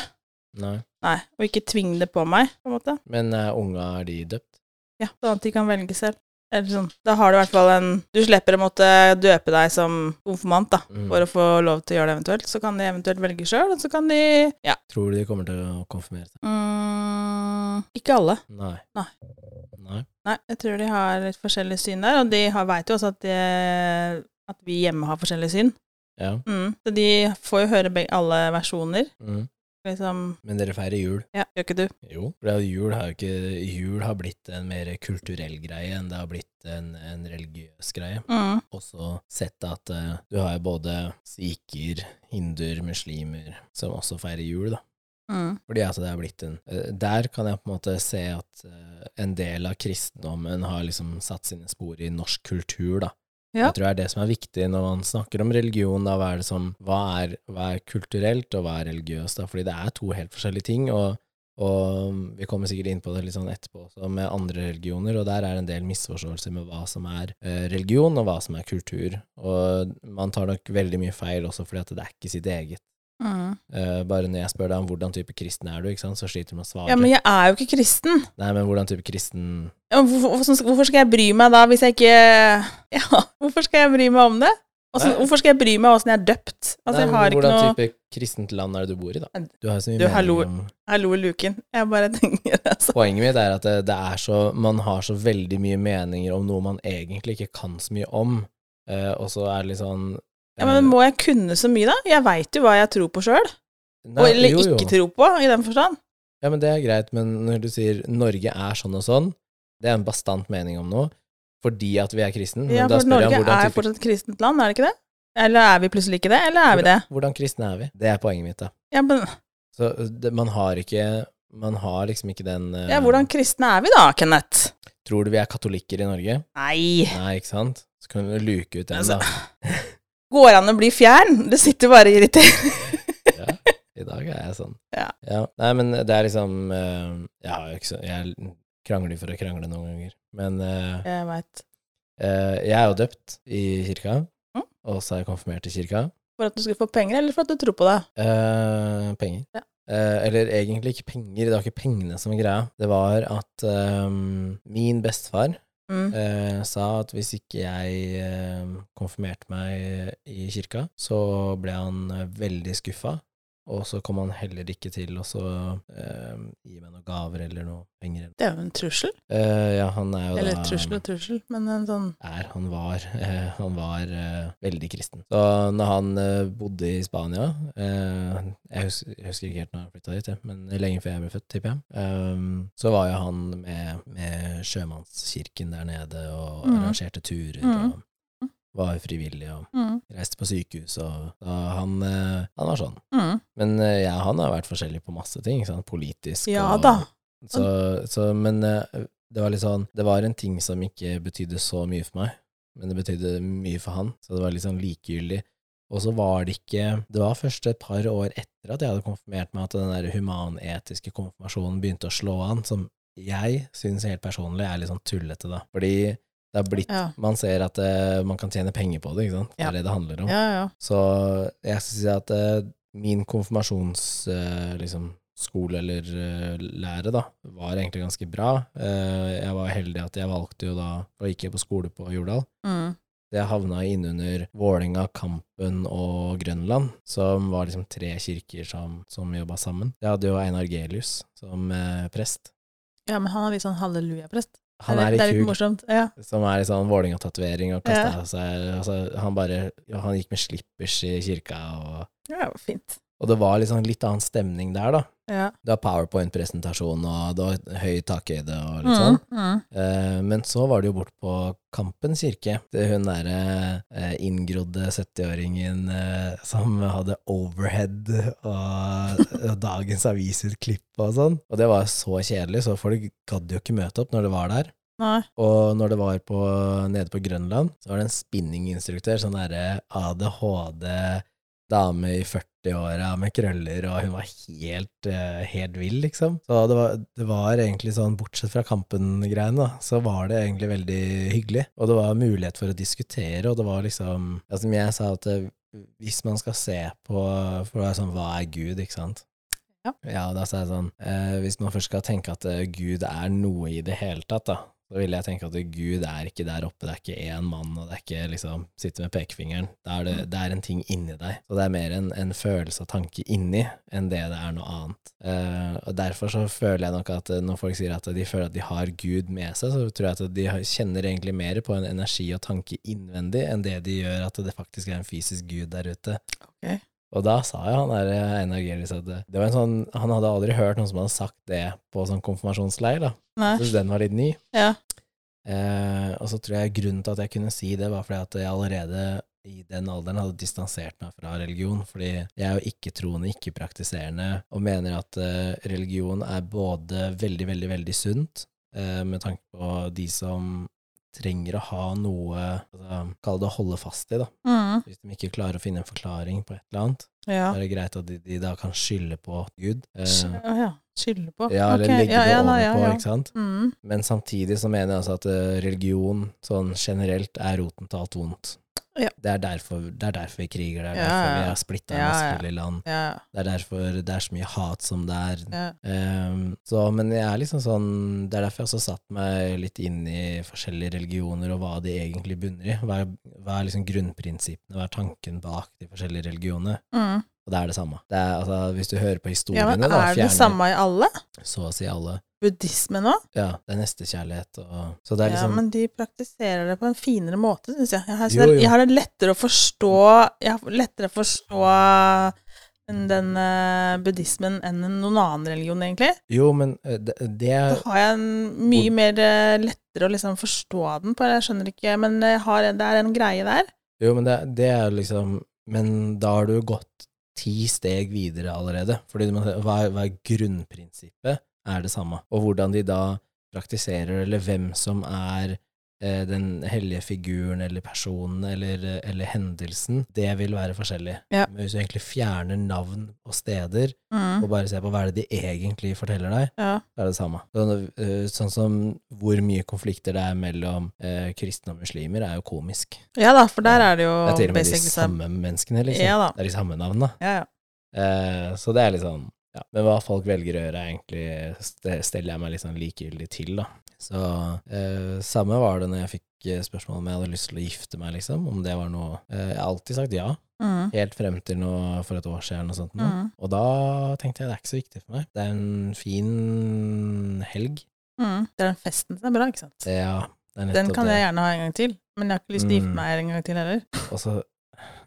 Speaker 1: Nei.
Speaker 2: Nei, og ikke tving det på meg, på en måte.
Speaker 1: Men eh, unga, er de døpt?
Speaker 2: Ja, Sånn at de kan velge selv. Eller sånn. Da har du i hvert fall en Du slipper å måtte døpe deg som konfirmant, da,
Speaker 1: Mm.
Speaker 2: for å få lov til å gjøre det eventuelt. Så kan de eventuelt velge sjøl, og så kan de Ja.
Speaker 1: Tror du de kommer til å konfirmere seg?
Speaker 2: Mm, ikke alle.
Speaker 1: Nei.
Speaker 2: Nei.
Speaker 1: Nei.
Speaker 2: Nei, jeg tror de har litt forskjellig syn der, og de veit jo også at, det- at vi hjemme har forskjellig syn.
Speaker 1: Ja.
Speaker 2: Mm. Så de får jo høre beg- alle versjoner.
Speaker 1: Mm.
Speaker 2: Liksom
Speaker 1: Men dere feirer jul?
Speaker 2: Ja, gjør ikke du?
Speaker 1: Jo. For jul har jo ikke Jul har blitt en mer kulturell greie enn det har blitt en, en religiøs greie.
Speaker 2: Mm.
Speaker 1: Også sett at eh, du har jo både sikher, hinduer, muslimer som også feirer jul, da.
Speaker 2: Mm.
Speaker 1: Fordi altså det er blitt en eh, Der kan jeg på en måte se at eh, en del av kristendommen har liksom satt sine spor i norsk kultur, da.
Speaker 2: Ja.
Speaker 1: Jeg tror det er det som er viktig når man snakker om religion, da. Hva er det som Hva er, hva er kulturelt, og hva er religiøst, da? Fordi det er to helt forskjellige ting, og, og vi kommer sikkert inn på det litt sånn etterpå også, med andre religioner, og der er det en del misforståelser med hva som er eh, religion, og hva som er kultur. Og man tar nok veldig mye feil også fordi at det er ikke sitt eget.
Speaker 2: Mm.
Speaker 1: Eh, bare når jeg spør deg om hvordan type kristen er du, ikke sant? så sliter du med å svare.
Speaker 2: Ja, men jeg er jo ikke kristen.
Speaker 1: Nei, men hvordan type kristen
Speaker 2: Ja, men Hvorfor, hvorfor- hvorfor skal jeg bry meg da, hvis jeg ikke Ja, hvorfor skal jeg bry meg om det?
Speaker 1: Nei.
Speaker 2: Også, hvorfor skal jeg bry meg åssen jeg er døpt? Altså,
Speaker 1: Nei,
Speaker 2: jeg
Speaker 1: men
Speaker 2: har ikke
Speaker 1: Hvordan
Speaker 2: noe
Speaker 1: type kristent land er det du bor i, da? Du har jo så mye
Speaker 2: Du,
Speaker 1: mening
Speaker 2: hallo.
Speaker 1: om
Speaker 2: Hallo, luken. Jeg bare tenker altså.
Speaker 1: Poenget mitt er at det, det er så Man har så veldig mye meninger om noe man egentlig ikke kan så mye om, eh, og så er det litt sånn
Speaker 2: Ja, men må jeg kunne så mye, da? Jeg veit jo hva jeg tror på sjøl.
Speaker 1: Eh, Nei,
Speaker 2: Eller
Speaker 1: jo, jo.
Speaker 2: ikke tror på, i den forstand.
Speaker 1: Ja, men det er greit, men når du sier Norge er sånn og sånn, det er en bastant mening om noe, fordi at vi er kristen, Mm, men
Speaker 2: Ja,
Speaker 1: da
Speaker 2: for
Speaker 1: spør jeg
Speaker 2: Norge
Speaker 1: om hvordan
Speaker 2: er
Speaker 1: type
Speaker 2: fortsatt et kristent land, er det ikke det? Eller er vi plutselig ikke det? Eller er vi det?
Speaker 1: hvordan, hvordan kristne er vi? Det er poenget mitt, da.
Speaker 2: Ja, men,
Speaker 1: Så det, man har ikke Man har liksom ikke den eh,
Speaker 2: ja, hvordan kristne er vi da, Kenneth?
Speaker 1: Tror du vi er katolikker i Norge?
Speaker 2: Nei.
Speaker 1: Nei, ikke sant? Så kan du luke ut den,
Speaker 2: Altså-
Speaker 1: da.
Speaker 2: Går an å bli fjern? Det sitter bare og irriterer.
Speaker 1: Ja, I dag er jeg sånn.
Speaker 2: Ja.
Speaker 1: Nei, men det er liksom eh, Jeg har jo ikke så Jeg krangler for å krangle noen ganger. Men eh,
Speaker 2: Jeg veit.
Speaker 1: eh, jeg er jo døpt i kirka,
Speaker 2: Mm.
Speaker 1: og så er jeg konfirmert i kirka.
Speaker 2: For at du skulle få penger, eller for at du tror på det?
Speaker 1: Eh, penger.
Speaker 2: Ja.
Speaker 1: Eh, eller egentlig ikke penger, det var ikke pengene som var greia. Det var at eh, min bestefar
Speaker 2: Mm.
Speaker 1: eh, sa at hvis ikke jeg eh, konfirmerte meg i kirka, så ble han eh, veldig skuffa. Og så kom han heller ikke til å så, eh, gi meg noen gaver eller noe penger.
Speaker 2: Det er jo en trussel.
Speaker 1: Eh, ja, han er jo
Speaker 2: Eller
Speaker 1: da
Speaker 2: trussel og trussel, men en sånn
Speaker 1: er, han var, eh, han var eh, veldig kristen. Så når han eh, bodde i Spania eh, jeg, husker, jeg husker ikke helt når han flytta dit, jeg, men lenge før jeg ble født, tipper jeg. ehm, så var jo han med, med sjømannskirken der nede og
Speaker 2: Mhm.
Speaker 1: arrangerte turer
Speaker 2: Mhm.
Speaker 1: og var frivillig og
Speaker 2: mm.
Speaker 1: reiste på sykehus og da han, eh, han var sånn.
Speaker 2: Mm.
Speaker 1: Men eh, jeg og han har vært forskjellig på masse ting, ikke sant? politisk
Speaker 2: Ja
Speaker 1: og
Speaker 2: da.
Speaker 1: så, så, men eh, det var litt sånn Det var en ting som ikke betydde så mye for meg, men det betydde mye for han, så det var litt sånn likegyldig. Og så var det ikke Det var først et par år etter at jeg hadde konfirmert meg, at den der humanetiske konfirmasjonen begynte å slå an, som jeg syns helt personlig er litt sånn tullete, da. Fordi det har blitt
Speaker 2: Ja.
Speaker 1: Man ser at eh, man kan tjene penger på det, ikke sant. Det
Speaker 2: Ja.
Speaker 1: er det det handler om.
Speaker 2: ja, ja.
Speaker 1: Så jeg skal si at eh, min konfirmasjonsskole eh, liksom, skole eller eh, lære da, var egentlig ganske bra. Eh, jeg var heldig at jeg valgte jo da, da gikk jeg på skole på Jordal.
Speaker 2: Mm.
Speaker 1: Jeg havna innunder Vålinga, Kampen og Grønland, som var liksom tre kirker som, som jobba sammen. Jeg hadde jo Einar Gelius som eh, prest.
Speaker 2: ja, men han er litt sånn hallelujaprest.
Speaker 1: Han
Speaker 2: Det
Speaker 1: er
Speaker 2: det
Speaker 1: litt
Speaker 2: er litt
Speaker 1: kul.
Speaker 2: morsomt. Ja.
Speaker 1: Som er i sånn Vålinga-tatovering og kasta
Speaker 2: Ja.
Speaker 1: av seg altså, Han bare ja, Han gikk med slippers i kirka, og,
Speaker 2: ja, fint.
Speaker 1: og det var liksom litt annen stemning der, da.
Speaker 2: Ja.
Speaker 1: Det var powerpoint-presentasjon, og det var høy takhøyde og litt
Speaker 2: Mm.
Speaker 1: sånn.
Speaker 2: Mm.
Speaker 1: Eh, men så var det jo bort på Kampen kirke. Det hun derre eh, inngrodde 70-åringen eh, som hadde overhead og, og dagens avisutklipp og sånn. Og det var så kjedelig, så folk gadd jo ikke møte opp når det var der.
Speaker 2: Nei.
Speaker 1: Og når det var på, nede på Grønland, så var det en spinninginstruktør, sånn derre ADHD dame i 40-åra med krøller, og hun var helt, eh, helt vill, liksom. Så det var, det var egentlig sånn, bortsett fra kampen-greiene, da, så var det egentlig veldig hyggelig. Og det var mulighet for å diskutere, og det var liksom ja, Som jeg sa, at eh, hvis man skal se på For det er sånn, hva er Gud, ikke sant?
Speaker 2: Ja.
Speaker 1: Ja, og da sa jeg sånn, eh, hvis man først skal tenke at eh, Gud er noe i det hele tatt, da, så ville jeg tenke at Gud er ikke der oppe, det er ikke én mann, og det er ikke liksom sitte med pekefingeren. Det er, det, det er en ting inni deg, og det er mer en, en følelse og tanke inni enn det det er noe annet. Eh, og derfor så føler jeg nok at eh, når folk sier at de føler at de har Gud med seg, så tror jeg at de har- kjenner egentlig mer på en energi og tanke innvendig enn det de gjør at det faktisk er en fysisk Gud der ute.
Speaker 2: Ok.
Speaker 1: Og da sa jo han der eh, Einar Gelius at det det var en sånn, han hadde aldri hørt noen som hadde sagt det på sånn konfirmasjonsleir, da.
Speaker 2: Nei.
Speaker 1: Så den var litt ny.
Speaker 2: Ja.
Speaker 1: Eh, og så tror jeg grunnen til at jeg kunne si det, var fordi at jeg allerede i den alderen hadde distansert meg fra religion, fordi jeg er jo ikke-troende, ikke-praktiserende, og mener at eh, religion er både veldig, veldig, veldig sunt, eh, med tanke på de som trenger å ha noe, altså, kall det å holde fast i, da.
Speaker 2: Mm.
Speaker 1: Hvis de ikke klarer å finne en forklaring på et eller annet, så
Speaker 2: Ja.
Speaker 1: er det greit at de, de da kan skylde på Gud.
Speaker 2: Sk-
Speaker 1: Eh,
Speaker 2: Å ja. Skylde på.
Speaker 1: ja, eller
Speaker 2: Ok,
Speaker 1: legge det
Speaker 2: ja,
Speaker 1: over
Speaker 2: nei, ja,
Speaker 1: på,
Speaker 2: ja.
Speaker 1: ikke sant?
Speaker 2: Mm.
Speaker 1: Men samtidig så mener jeg altså at eh, religion sånn generelt er roten til alt vondt.
Speaker 2: Ja.
Speaker 1: Det, er derfor, det er derfor vi kriger, det er
Speaker 2: Ja,
Speaker 1: derfor
Speaker 2: ja.
Speaker 1: vi er splitta ja,
Speaker 2: Ja, ja.
Speaker 1: masse forskjellige land.
Speaker 2: Ja.
Speaker 1: Det er derfor det er så mye hat som det er.
Speaker 2: Ja.
Speaker 1: Ehm, så, men jeg er liksom sånn Det er derfor jeg også satt meg litt inn i forskjellige religioner og hva de egentlig bunner i. Hva er, hva er liksom grunnprinsippene, hva er tanken bak de forskjellige religionene?
Speaker 2: Mm.
Speaker 1: Og det er det samme. Det er, altså, hvis du hører på
Speaker 2: ja,
Speaker 1: historiene,
Speaker 2: men
Speaker 1: da,
Speaker 2: er det det
Speaker 1: fjerner
Speaker 2: samme i alle?
Speaker 1: så å si alle
Speaker 2: Buddhisme nå?
Speaker 1: Ja, det er nestekjærlighet og Så det er
Speaker 2: Ja,
Speaker 1: liksom
Speaker 2: men de praktiserer det på en finere måte, syns jeg. Jeg har,
Speaker 1: Jo, jo.
Speaker 2: jeg har det lettere å forstå Jeg har lettere å forstå den, den eh, buddhismen enn noen annen religion, egentlig.
Speaker 1: Jo, men eh, det, det
Speaker 2: Da har jeg en mye mer eh, lettere å liksom forstå den på. Jeg skjønner ikke, men jeg har, det er en greie der.
Speaker 1: Jo, men det, det er liksom Men da har du gått ti steg videre allerede. Fordi du må se hva, er- hva er grunnprinsippet? Er det samme. Og hvordan de da praktiserer, eller hvem som er eh, den hellige figuren eller personen eller, eh, eller hendelsen, det vil være forskjellig.
Speaker 2: Ja.
Speaker 1: Men hvis du egentlig fjerner navn og steder, og
Speaker 2: Mm.
Speaker 1: bare ser på hva er det de egentlig forteller deg,
Speaker 2: Ja.
Speaker 1: så er det det samme. Sånn, eh, sånn som hvor mye konflikter det er mellom eh, kristne og muslimer, er jo komisk.
Speaker 2: ja da, for der er det jo
Speaker 1: Det er til og med de
Speaker 2: basically same.
Speaker 1: samme menneskene, liksom.
Speaker 2: Ja da.
Speaker 1: Det er de samme navnene.
Speaker 2: Ja, ja.
Speaker 1: Eh, så det er litt sånn ja. Men hva folk velger å gjøre, er egentlig ste- steller jeg meg litt sånn likegyldig til, da. Så eh, samme var det når jeg fikk eh, spørsmål om jeg hadde lyst til å gifte meg, liksom. Om det var noe eh, Jeg har alltid sagt ja,
Speaker 2: Mm.
Speaker 1: helt frem til nå for et år siden og sånt. nå.
Speaker 2: Mm.
Speaker 1: Og da tenkte jeg det er ikke så viktig for meg. Det er en fin helg.
Speaker 2: Mm. Det er den festen som er bra, ikke sant?
Speaker 1: Det, ja, det er
Speaker 2: Den
Speaker 1: nettopp
Speaker 2: kan jeg
Speaker 1: det.
Speaker 2: gjerne ha en gang til, men jeg har ikke lyst til å
Speaker 1: Mm.
Speaker 2: gifte meg en gang til heller.
Speaker 1: Og så,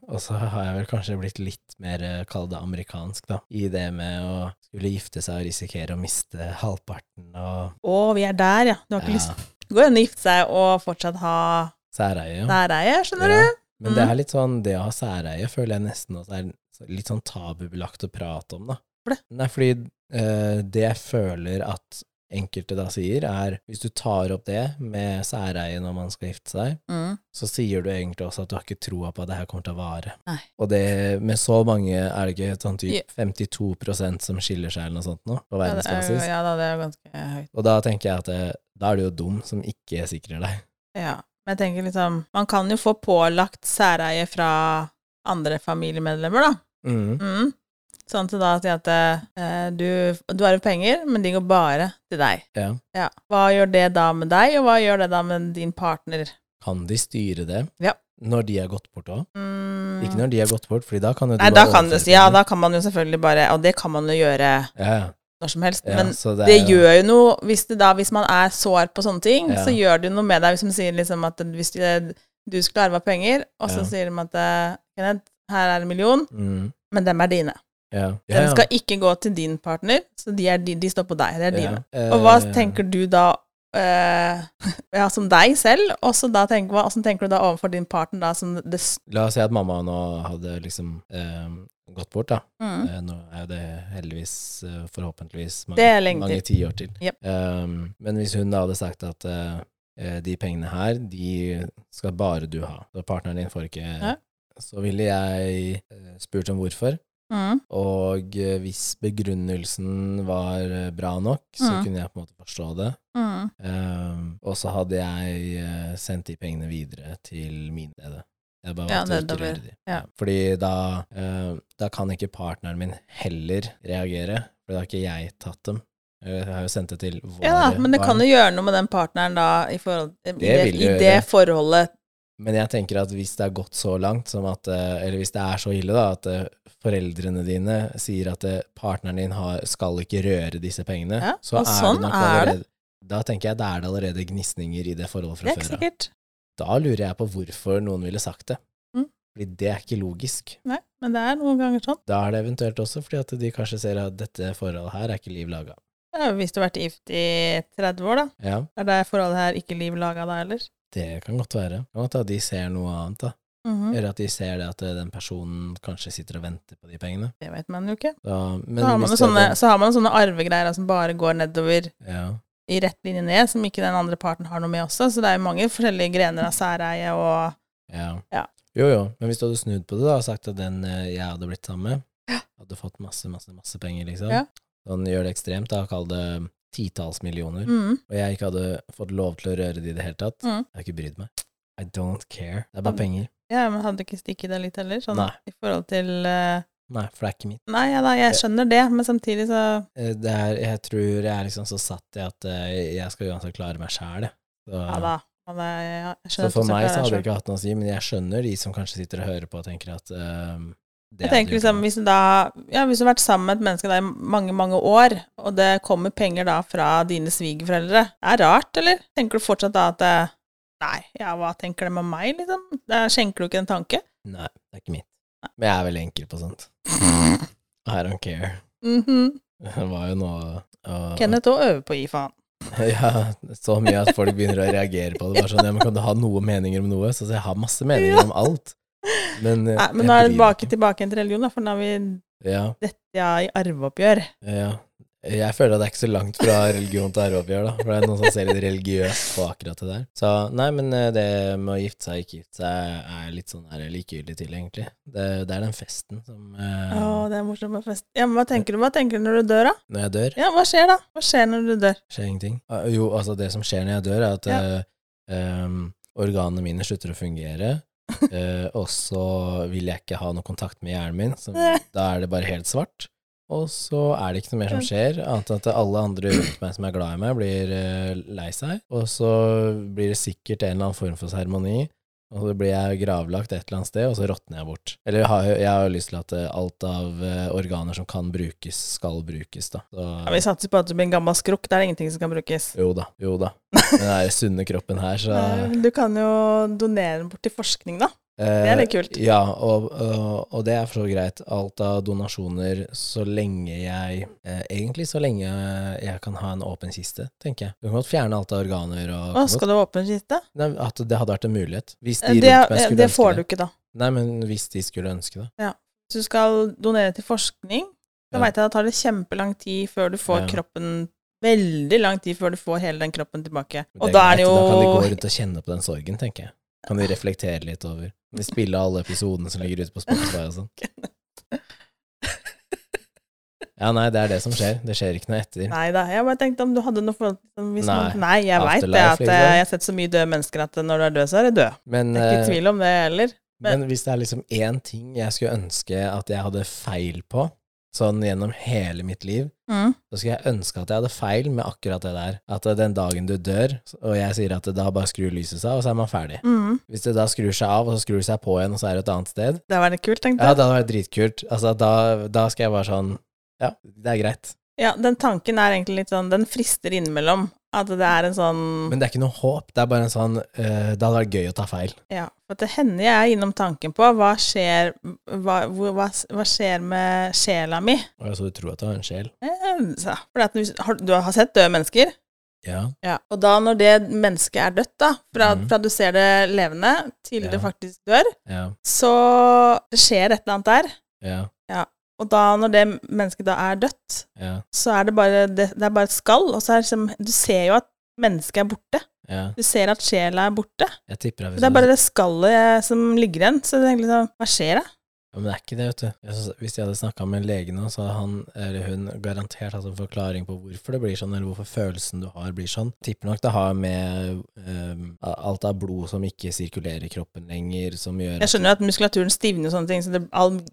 Speaker 1: og så har jeg vel kanskje blitt litt mer, eh, kall det amerikansk, da, i det med å skulle gifte seg og risikere å miste halvparten og
Speaker 2: Å, vi er der, ja. Du har ikke
Speaker 1: Ja,
Speaker 2: lyst Det går jo an å gifte seg og fortsatt ha
Speaker 1: Særeie, ja.
Speaker 2: næreie,
Speaker 1: Ja.
Speaker 2: skjønner du?
Speaker 1: Men det
Speaker 2: Mm.
Speaker 1: er litt sånn, det å ha særeie føler jeg nesten også er litt sånn tabubelagt å prate om, da.
Speaker 2: Hvorfor det?
Speaker 1: Nei, fordi eh, det jeg føler at enkelte da sier, er hvis du tar opp det med særeie når man skal gifte seg,
Speaker 2: Mm.
Speaker 1: så sier du egentlig også at du har ikke troa på at det her kommer til å vare.
Speaker 2: Nei.
Speaker 1: Og det, med så mange er det ikke sånn
Speaker 2: Ja.
Speaker 1: typ 52 som skiller seg eller noe sånt nå, på
Speaker 2: Ja, det er, jo-
Speaker 1: verdensbasis.
Speaker 2: ja da, det er jo ganske høyt.
Speaker 1: Og da tenker jeg at det, da er du jo dum som ikke sikrer deg.
Speaker 2: Ja. Men jeg tenker liksom Man kan jo få pålagt særeie fra andre familiemedlemmer, da.
Speaker 1: Mm.
Speaker 2: Mm. Sånn til da at, at eh, du, du arver penger, men de går bare til deg.
Speaker 1: Ja.
Speaker 2: Ja. Hva gjør det da med deg, og hva gjør det da med din partner?
Speaker 1: Kan de styre det
Speaker 2: Ja.
Speaker 1: når de er gått bort òg?
Speaker 2: Mm.
Speaker 1: Ikke når de er gått bort, Fordi da kan jo du
Speaker 2: Nei,
Speaker 1: bare
Speaker 2: da kan,
Speaker 1: overføre
Speaker 2: det, ja,
Speaker 1: til dem.
Speaker 2: da kan man jo selvfølgelig bare Og det kan man jo gjøre
Speaker 1: ja, ja.
Speaker 2: når som helst,
Speaker 1: Ja,
Speaker 2: men
Speaker 1: så
Speaker 2: det,
Speaker 1: er jo-
Speaker 2: gjør jo noe hvis, det da, hvis man er sår på sånne ting,
Speaker 1: Ja.
Speaker 2: så gjør det jo noe med deg hvis de sier liksom at hvis de, du skulle arva penger, og så
Speaker 1: Ja.
Speaker 2: sier de at eh, Kenneth, her er en million,
Speaker 1: mm,
Speaker 2: men dem er dine.
Speaker 1: ja. Ja,
Speaker 2: Den
Speaker 1: ja.
Speaker 2: skal ikke gå til din partner, så de, er, di- de står på deg. Det er dine.
Speaker 1: Ja.
Speaker 2: Og hva
Speaker 1: Eh,
Speaker 2: tenker du da eh, Ja, som deg selv, og så da tenker, hva, hvordan tenker du da overfor din partner da som det s-
Speaker 1: Eh, La oss si at mamma nå hadde liksom eh, gått bort, da.
Speaker 2: mm.
Speaker 1: Eh, nå er jo det heldigvis, eh, forhåpentligvis, mange,
Speaker 2: Det er lenge
Speaker 1: mange tiår til.
Speaker 2: Jep.
Speaker 1: Ehm, men hvis hun da hadde sagt at eh, eh, de pengene her, de skal bare du ha, og partneren din får ikke
Speaker 2: Ja.
Speaker 1: Så ville jeg eh, spurt om hvorfor,
Speaker 2: Mm.
Speaker 1: og eh, hvis begrunnelsen var eh, bra nok, så
Speaker 2: Mm.
Speaker 1: kunne jeg på en måte forstå det.
Speaker 2: Mm.
Speaker 1: Ehm, og så hadde jeg eh, sendt de pengene videre til min leder. Jeg bare
Speaker 2: Ja,
Speaker 1: valgte å ikke
Speaker 2: nedover.
Speaker 1: røre de.
Speaker 2: Ja.
Speaker 1: Fordi da, eh, da kan ikke partneren min heller reagere, for da har ikke jeg tatt dem. Eh, Jeg har jo sendt det til våre
Speaker 2: Ja da, men det
Speaker 1: barn.
Speaker 2: kan jo gjøre noe med den partneren da, i, forhold, i, det,
Speaker 1: vil
Speaker 2: i
Speaker 1: jo
Speaker 2: det
Speaker 1: gjøre.
Speaker 2: forholdet.
Speaker 1: Men jeg tenker at hvis det er gått så langt som at eh, Eller hvis det er så ille, da, at eh, foreldrene dine sier at eh, partneren din har, skal ikke røre disse pengene,
Speaker 2: Ja,
Speaker 1: så
Speaker 2: og
Speaker 1: er
Speaker 2: sånn
Speaker 1: det nok
Speaker 2: er
Speaker 1: allerede
Speaker 2: det.
Speaker 1: Da tenker jeg da er det allerede gnisninger i det forholdet
Speaker 2: Det
Speaker 1: fra
Speaker 2: er ikke
Speaker 1: før av.
Speaker 2: sikkert.
Speaker 1: Da lurer jeg på hvorfor noen ville sagt det.
Speaker 2: Mm.
Speaker 1: Fordi det er ikke logisk.
Speaker 2: Nei, men det er noen ganger sånn.
Speaker 1: Da er det eventuelt også fordi at de kanskje ser at dette forholdet her er ikke liv laga.
Speaker 2: Det er jo hvis du har vært gift i 30 år, da.
Speaker 1: Ja,
Speaker 2: Er det forholdet her ikke liv laga da ellers?
Speaker 1: det kan godt være. Det kan godt at de ser noe annet, da.
Speaker 2: Mhm.
Speaker 1: Eller at de ser det at eh, den personen kanskje sitter og venter på de pengene.
Speaker 2: Det vet man jo ikke.
Speaker 1: Da, men
Speaker 2: Så har, man
Speaker 1: hvis
Speaker 2: jo
Speaker 1: det hadde-
Speaker 2: sånne, så har man jo sånne arvegreier da, som bare går nedover
Speaker 1: Ja,
Speaker 2: i rett linje ned, som ikke den andre parten har noe med også. Så det er jo mange forskjellige grener av særeie og
Speaker 1: ja.
Speaker 2: Ja.
Speaker 1: Jo, jo. Men hvis du hadde snudd på det da, og sagt at den eh, jeg hadde blitt sammen med, hadde fått masse, masse, masse penger, liksom.
Speaker 2: Ja.
Speaker 1: Sånn gjør det ekstremt, da. Kall det titalls millioner.
Speaker 2: mm.
Speaker 1: og jeg ikke hadde fått lov til å røre det i det hele tatt,
Speaker 2: Mm.
Speaker 1: jeg har ikke brydd meg. I don't care. Det er bare
Speaker 2: Mm.
Speaker 1: penger.
Speaker 2: Ja, men hadde ikke stikket det litt heller, sånn
Speaker 1: Nei.
Speaker 2: i forhold til eh,
Speaker 1: Nei, for det er ikke mitt.
Speaker 2: Nei, ja da, jeg skjønner det, men samtidig så
Speaker 1: Eh, Det er, jeg tror jeg er liksom så satt i at eh, jeg skal uansett klare meg sjæl, jeg. Så,
Speaker 2: Ja da. ja da, ja, jeg
Speaker 1: så
Speaker 2: skjønner
Speaker 1: for
Speaker 2: at du
Speaker 1: meg så
Speaker 2: klarer
Speaker 1: hadde
Speaker 2: deg
Speaker 1: det ikke hatt noe å si, men jeg skjønner de som kanskje sitter og hører på og tenker at ehm, det
Speaker 2: Jeg
Speaker 1: hadde
Speaker 2: tenker
Speaker 1: gjort
Speaker 2: liksom,
Speaker 1: noe.
Speaker 2: hvis du da ja, Hvis du har vært sammen med et menneske da i mange, mange år, og det kommer penger da fra dine svigerforeldre, det er rart, eller? Tenker du fortsatt da at eh, Nei, ja, hva tenker de om meg, liksom? Da skjenker du ikke en tanke.
Speaker 1: Nei, det er ikke mitt. Men jeg er veldig enkel på sånt. I don't care.
Speaker 2: Mhm.
Speaker 1: Det var jo nå og-
Speaker 2: Kenneth òg øver på å gi faen.
Speaker 1: Ja, så mye at folk begynner å reagere på det. Bare sånn, ja, men Kan du ha noe meninger om noe? Så jeg har masse meninger om alt. Men, eh,
Speaker 2: Nei, men
Speaker 1: jeg
Speaker 2: nå er det
Speaker 1: bryr meg
Speaker 2: tilbake,
Speaker 1: ikke.
Speaker 2: tilbake igjen til religion, da, for nå er vi
Speaker 1: Ja,
Speaker 2: ja, i arveoppgjør.
Speaker 1: ja. Jeg føler at det er ikke så langt fra religion til arveoppgjør, da. For det er noen som ser litt religiøst på akkurat det der. Så nei, men eh, det med å gifte seg, ikke gifte seg, er litt sånn her likegyldig til, egentlig. Det, det er den festen som eh,
Speaker 2: Å, det er morsomt med fest. Ja, men hva tenker du Hva tenker du når du dør, da?
Speaker 1: Når jeg dør,
Speaker 2: Ja, hva skjer da? Hva skjer når du dør?
Speaker 1: skjer ingenting. Ah, Jo, altså, det som skjer når jeg dør, er at
Speaker 2: Ja.
Speaker 1: eh, em, organene mine slutter å fungere. eh, og så vil jeg ikke ha noe kontakt med hjernen min, så da er det bare helt svart. Og så er det ikke noe mer som skjer, annet enn at alle andre rundt meg som er glad i meg, blir eh, lei seg. Og så blir det sikkert en eller annen form for seremoni, og så blir jeg gravlagt et eller annet sted, og så råtner jeg bort. Eller har, jeg har jo lyst til at eh, alt av eh, organer som kan brukes, skal brukes, da. Så,
Speaker 2: Ja, vi satser på at du blir en gammel skrukk. Det er ingenting som kan brukes.
Speaker 1: jo da, jo da. Med den der sunne kroppen her, så
Speaker 2: Nei, men Du kan jo donere den bort til forskning, da.
Speaker 1: Det
Speaker 2: er litt kult.
Speaker 1: eh, Ja, og, og, og det er for så greit. Alt av donasjoner så lenge jeg eh, Egentlig så lenge jeg kan ha en åpen kiste, tenker jeg. Du kan godt fjerne alt av organer og
Speaker 2: Å,
Speaker 1: kan godt-
Speaker 2: skal du ha åpen kiste?
Speaker 1: Nei, At det hadde vært en mulighet. Hvis de
Speaker 2: Eh, Det,
Speaker 1: rundt meg
Speaker 2: eh,
Speaker 1: skulle
Speaker 2: det
Speaker 1: ønske
Speaker 2: får du
Speaker 1: det.
Speaker 2: ikke, da.
Speaker 1: Nei, men hvis de skulle ønske det.
Speaker 2: Hvis du skal donere til forskning, da
Speaker 1: Ja.
Speaker 2: veit jeg da tar det kjempelang tid før du får
Speaker 1: Ja.
Speaker 2: kroppen Veldig lang tid før du får hele den kroppen tilbake.
Speaker 1: Men
Speaker 2: Og
Speaker 1: det
Speaker 2: da er
Speaker 1: greit,
Speaker 2: det jo
Speaker 1: Da kan de gå rundt og kjenne på den sorgen, tenker jeg. Kan de reflektere litt over. De spiller alle episodene som ligger ute på Spotify og sånn. Ja, nei, det er det som skjer. Det skjer ikke noe etter.
Speaker 2: Nei da, jeg bare tenkte om du hadde noe forhold til liksom, hvis
Speaker 1: Nei.
Speaker 2: man- Nei, jeg veit det.
Speaker 1: Afterlife,
Speaker 2: At eh,
Speaker 1: liksom.
Speaker 2: jeg har sett så mye døde mennesker at eh, når du er død, så er du død.
Speaker 1: Men
Speaker 2: Det er ikke
Speaker 1: eh,
Speaker 2: tvil om det heller. Men-
Speaker 1: Men hvis det er liksom én ting jeg skulle ønske at jeg hadde feil på, sånn gjennom hele mitt liv,
Speaker 2: Mm.
Speaker 1: så skulle jeg ønske at jeg hadde feil med akkurat det der. At eh, den dagen du dør, og jeg sier at da bare skrur lyset seg, og så er man ferdig.
Speaker 2: Mm.
Speaker 1: Hvis det da skrur seg av, og så skrur det seg på igjen, og så er det et annet sted,
Speaker 2: Det var litt kult, tenkte
Speaker 1: ja,
Speaker 2: jeg.
Speaker 1: det hadde vært dritkult. Altså, da, da skal jeg bare sånn Ja, det er greit.
Speaker 2: Ja, den tanken er egentlig litt sånn Den frister innimellom. At det er en sånn
Speaker 1: Men det er ikke noe håp. Det er bare en sånn eh, Det hadde vært gøy å ta feil.
Speaker 2: Ja. For det hender jeg er innom tanken på hva skjer, hva, hvor, hva, hva skjer med sjela mi?
Speaker 1: Og så du tror at du har en sjel?
Speaker 2: Eh, så- Fordi at hvis- har, du har sett døde mennesker?
Speaker 1: Ja.
Speaker 2: Ja. Og da når det mennesket er dødt, da, fra,
Speaker 1: Mhm.
Speaker 2: fra du ser det levende til
Speaker 1: Ja.
Speaker 2: det faktisk dør,
Speaker 1: Ja.
Speaker 2: så skjer et eller annet der.
Speaker 1: Ja.
Speaker 2: Og da, når det mennesket da er dødt,
Speaker 1: Ja.
Speaker 2: så er det bare, det, det er bare et skall. Og så er det liksom, du ser jo at mennesket er borte.
Speaker 1: ja.
Speaker 2: Du ser at sjela er borte.
Speaker 1: Jeg tipper at hvis
Speaker 2: Det er
Speaker 1: du-
Speaker 2: bare det skallet eh, som ligger igjen. Så jeg tenker liksom, hva skjer da?
Speaker 1: Ja, men det er ikke det, vet du. Jeg synes, hvis jeg hadde snakka med en lege nå, så hadde han eller hun garantert hatt en forklaring på hvorfor det blir sånn, eller hvorfor følelsen du har blir sånn. Tipper nok det har med ehm, alt av blod som ikke sirkulerer i kroppen lenger, som gjør
Speaker 2: Jeg skjønner jo at muskulaturen stivner og sånne ting, så det, all,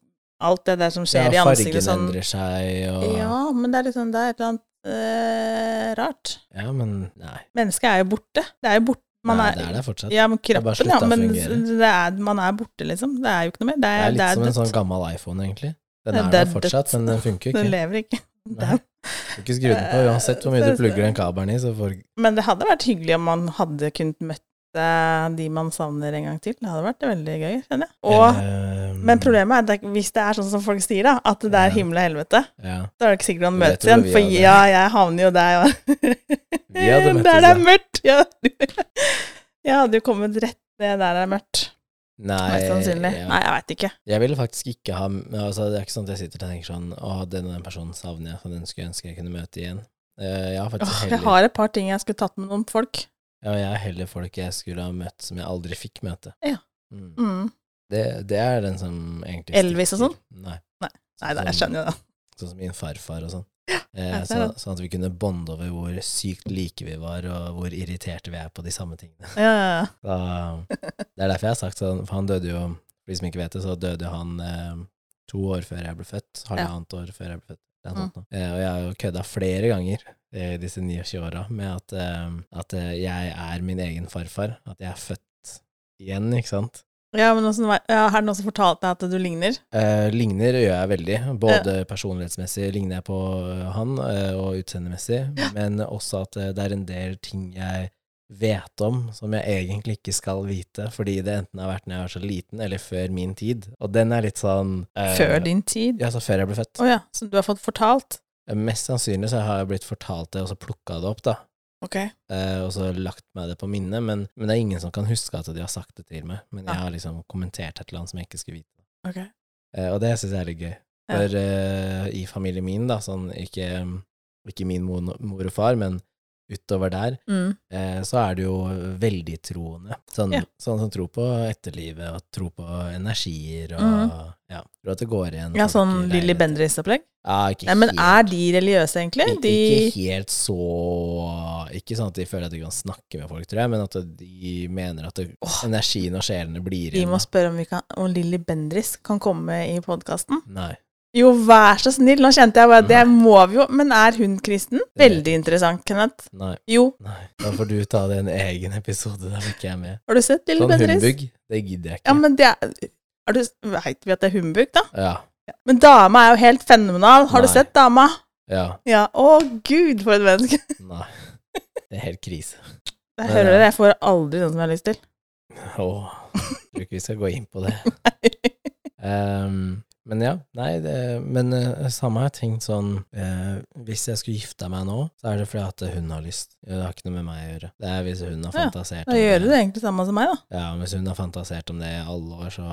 Speaker 2: alt det der som skjer i
Speaker 1: ja, fargen
Speaker 2: ansiktet sånn
Speaker 1: endrer seg, og ja.
Speaker 2: Ja, men det er liksom, det er et eller annet eh, rart.
Speaker 1: men nei.
Speaker 2: Mennesket er jo borte. Det er jo borte. Man
Speaker 1: nei
Speaker 2: er,
Speaker 1: det er der fortsatt.
Speaker 2: Ja, men
Speaker 1: har bare
Speaker 2: kroppen, ja.
Speaker 1: sluttet å
Speaker 2: Men
Speaker 1: fungere.
Speaker 2: det er, man er borte, liksom. Det er jo ikke noe mer. Det
Speaker 1: Det
Speaker 2: er,
Speaker 1: er litt
Speaker 2: det er
Speaker 1: som en
Speaker 2: dødt.
Speaker 1: sånn gammel iPhone, egentlig. Den
Speaker 2: Det
Speaker 1: er
Speaker 2: er
Speaker 1: der
Speaker 2: dødt.
Speaker 1: fortsatt, men den funker jo
Speaker 2: Den
Speaker 1: ikke.
Speaker 2: lever ikke.
Speaker 1: Nei. Du kan ikke skru den på, uansett hvor mye du plugger den kabelen i, så får
Speaker 2: Men det hadde vært hyggelig om man hadde kunnet møtt eh, de man savner en gang til. Det hadde vært veldig gøy, kjenner jeg. Og,
Speaker 1: Ehm,
Speaker 2: men problemet er at det- hvis det er sånn som folk sier, da, at det
Speaker 1: Ja.
Speaker 2: er himmel og helvete,
Speaker 1: ja.
Speaker 2: da er det ikke sikkert man
Speaker 1: Det
Speaker 2: møtes
Speaker 1: tror
Speaker 2: igjen.
Speaker 1: vi
Speaker 2: For
Speaker 1: hadde.
Speaker 2: ja, jeg havner jo der. Ja.
Speaker 1: Vi hadde møttes,
Speaker 2: der Mm, det er
Speaker 1: da.
Speaker 2: mørkt! Ja, jeg hadde jo kommet rett ned der det er mørkt.
Speaker 1: Nei,
Speaker 2: Mest sannsynlig.
Speaker 1: ja.
Speaker 2: Nei, jeg veit ikke.
Speaker 1: Jeg ville faktisk ikke ha altså Det er ikke sånn at jeg sitter og tenker sånn Å, den og den personen savner jeg, for den skulle jeg ønske jeg kunne møte igjen. Eh, jeg har faktisk
Speaker 2: Åh, jeg
Speaker 1: heller,
Speaker 2: har et par ting jeg skulle tatt med noen folk.
Speaker 1: ja, jeg har heller folk jeg skulle ha møtt som jeg aldri fikk møte.
Speaker 2: Ja.
Speaker 1: Mm.
Speaker 2: Mm.
Speaker 1: Det, det er den som egentlig
Speaker 2: Elvis og
Speaker 1: stikker.
Speaker 2: sånn?
Speaker 1: Nei.
Speaker 2: Nei. Nei, da,
Speaker 1: Sånn-
Speaker 2: jeg skjønner jo det.
Speaker 1: Sånn som min farfar og sånn. Eh,
Speaker 2: Ja, det er
Speaker 1: så, sånn at vi kunne bonde over hvor sykt like vi var, og hvor irriterte vi er på de samme tingene.
Speaker 2: Ja, ja, ja.
Speaker 1: Da, det er derfor jeg har sagt sånn, for han døde jo For de som ikke vet det, så døde han eh, to år før jeg ble født. Halvannet år før jeg ble født. Det
Speaker 2: Mm.
Speaker 1: er noe sånt nå. Eh, og jeg har jo kødda flere ganger eh, i disse 29 åra med at, eh, at eh, jeg er min egen farfar. At jeg er født igjen, ikke sant.
Speaker 2: Ja, men hvordan var- ja, Er det noen som fortalte deg at du ligner?
Speaker 1: Eh, ligner gjør jeg veldig. Både personlighetsmessig ligner jeg på eh, han, eh, og utseendemessig. Men også at eh, det er en del ting jeg vet om som jeg egentlig ikke skal vite, fordi det enten har vært når jeg var så liten, eller før min tid. Og den er litt sånn eh,
Speaker 2: Før din tid?
Speaker 1: Ja, altså før jeg ble født.
Speaker 2: Å ja, som du har fått fortalt?
Speaker 1: Eh, Mest sannsynlig så har jeg blitt fortalt det, og så plukka det opp, da.
Speaker 2: Ok.
Speaker 1: eh, og så lagt meg det på minnet, men, men det er ingen som kan huske at de har sagt det til meg. Men jeg har liksom kommentert et eller annet som jeg ikke skulle vite.
Speaker 2: ok.
Speaker 1: Eh, og det syns jeg er litt gøy.
Speaker 2: Ja.
Speaker 1: For eh, i familien min, da, sånn ikke ikke min mor, mor og far, men utover der,
Speaker 2: Mm.
Speaker 1: eh, så er det jo veldig troende. Sånn,
Speaker 2: Ja.
Speaker 1: sånn som tror på etterlivet, og tro på energier, og
Speaker 2: Mhm.
Speaker 1: ja, tror at det går igjen.
Speaker 2: Ja,
Speaker 1: folk
Speaker 2: sånn
Speaker 1: i
Speaker 2: Lilly
Speaker 1: leiligheter.
Speaker 2: Bendriss-opplegg.
Speaker 1: Ja, ikke
Speaker 2: Nei, men
Speaker 1: helt-
Speaker 2: er de religiøse, egentlig?
Speaker 1: Ik-
Speaker 2: De
Speaker 1: Ikke helt så Ikke sånn at de føler at de kan snakke med folk, tror jeg, men at de mener at det,
Speaker 2: Åh.
Speaker 1: energien og sjelene blir
Speaker 2: Vi
Speaker 1: igjen.
Speaker 2: må spørre om, vi kan- om Lilly Bendriss kan komme i podkasten.
Speaker 1: Nei.
Speaker 2: Jo, vær så snill! Nå kjente jeg bare Det må vi jo. Men er hun kristen? Veldig interessant, Kenneth.
Speaker 1: Nei.
Speaker 2: Jo,
Speaker 1: nei. Da får du ta det i en egen episode der ikke jeg er med.
Speaker 2: har du sett Lilly
Speaker 1: Sånn
Speaker 2: Bendriss?
Speaker 1: humbug, det gidder jeg ikke.
Speaker 2: Ja, men det er er du, Veit vi at det er humbug, da?
Speaker 1: Ja.
Speaker 2: Men dama er jo helt fenomenal. Har du
Speaker 1: Nei.
Speaker 2: sett dama?
Speaker 1: ja.
Speaker 2: Ja. Å, gud, for et menneske!
Speaker 1: Nei. Det er helt krise. Nei,
Speaker 2: Jeg hører
Speaker 1: nei.
Speaker 2: det. Jeg får aldri den som jeg har lyst til.
Speaker 1: Åh. Tror ikke vi skal gå inn på det. Ehm, men ja, nei, det, men eh, samme har jeg tenkt sånn eh, Hvis jeg skulle gifta meg nå, så er det fordi at hun har lyst. Det har ikke noe med meg å gjøre. Det er hvis hun har
Speaker 2: Ja,
Speaker 1: fantasert
Speaker 2: Da gjør du det egentlig samme som meg, da.
Speaker 1: Ja, hvis hun har fantasert om det i alle år, så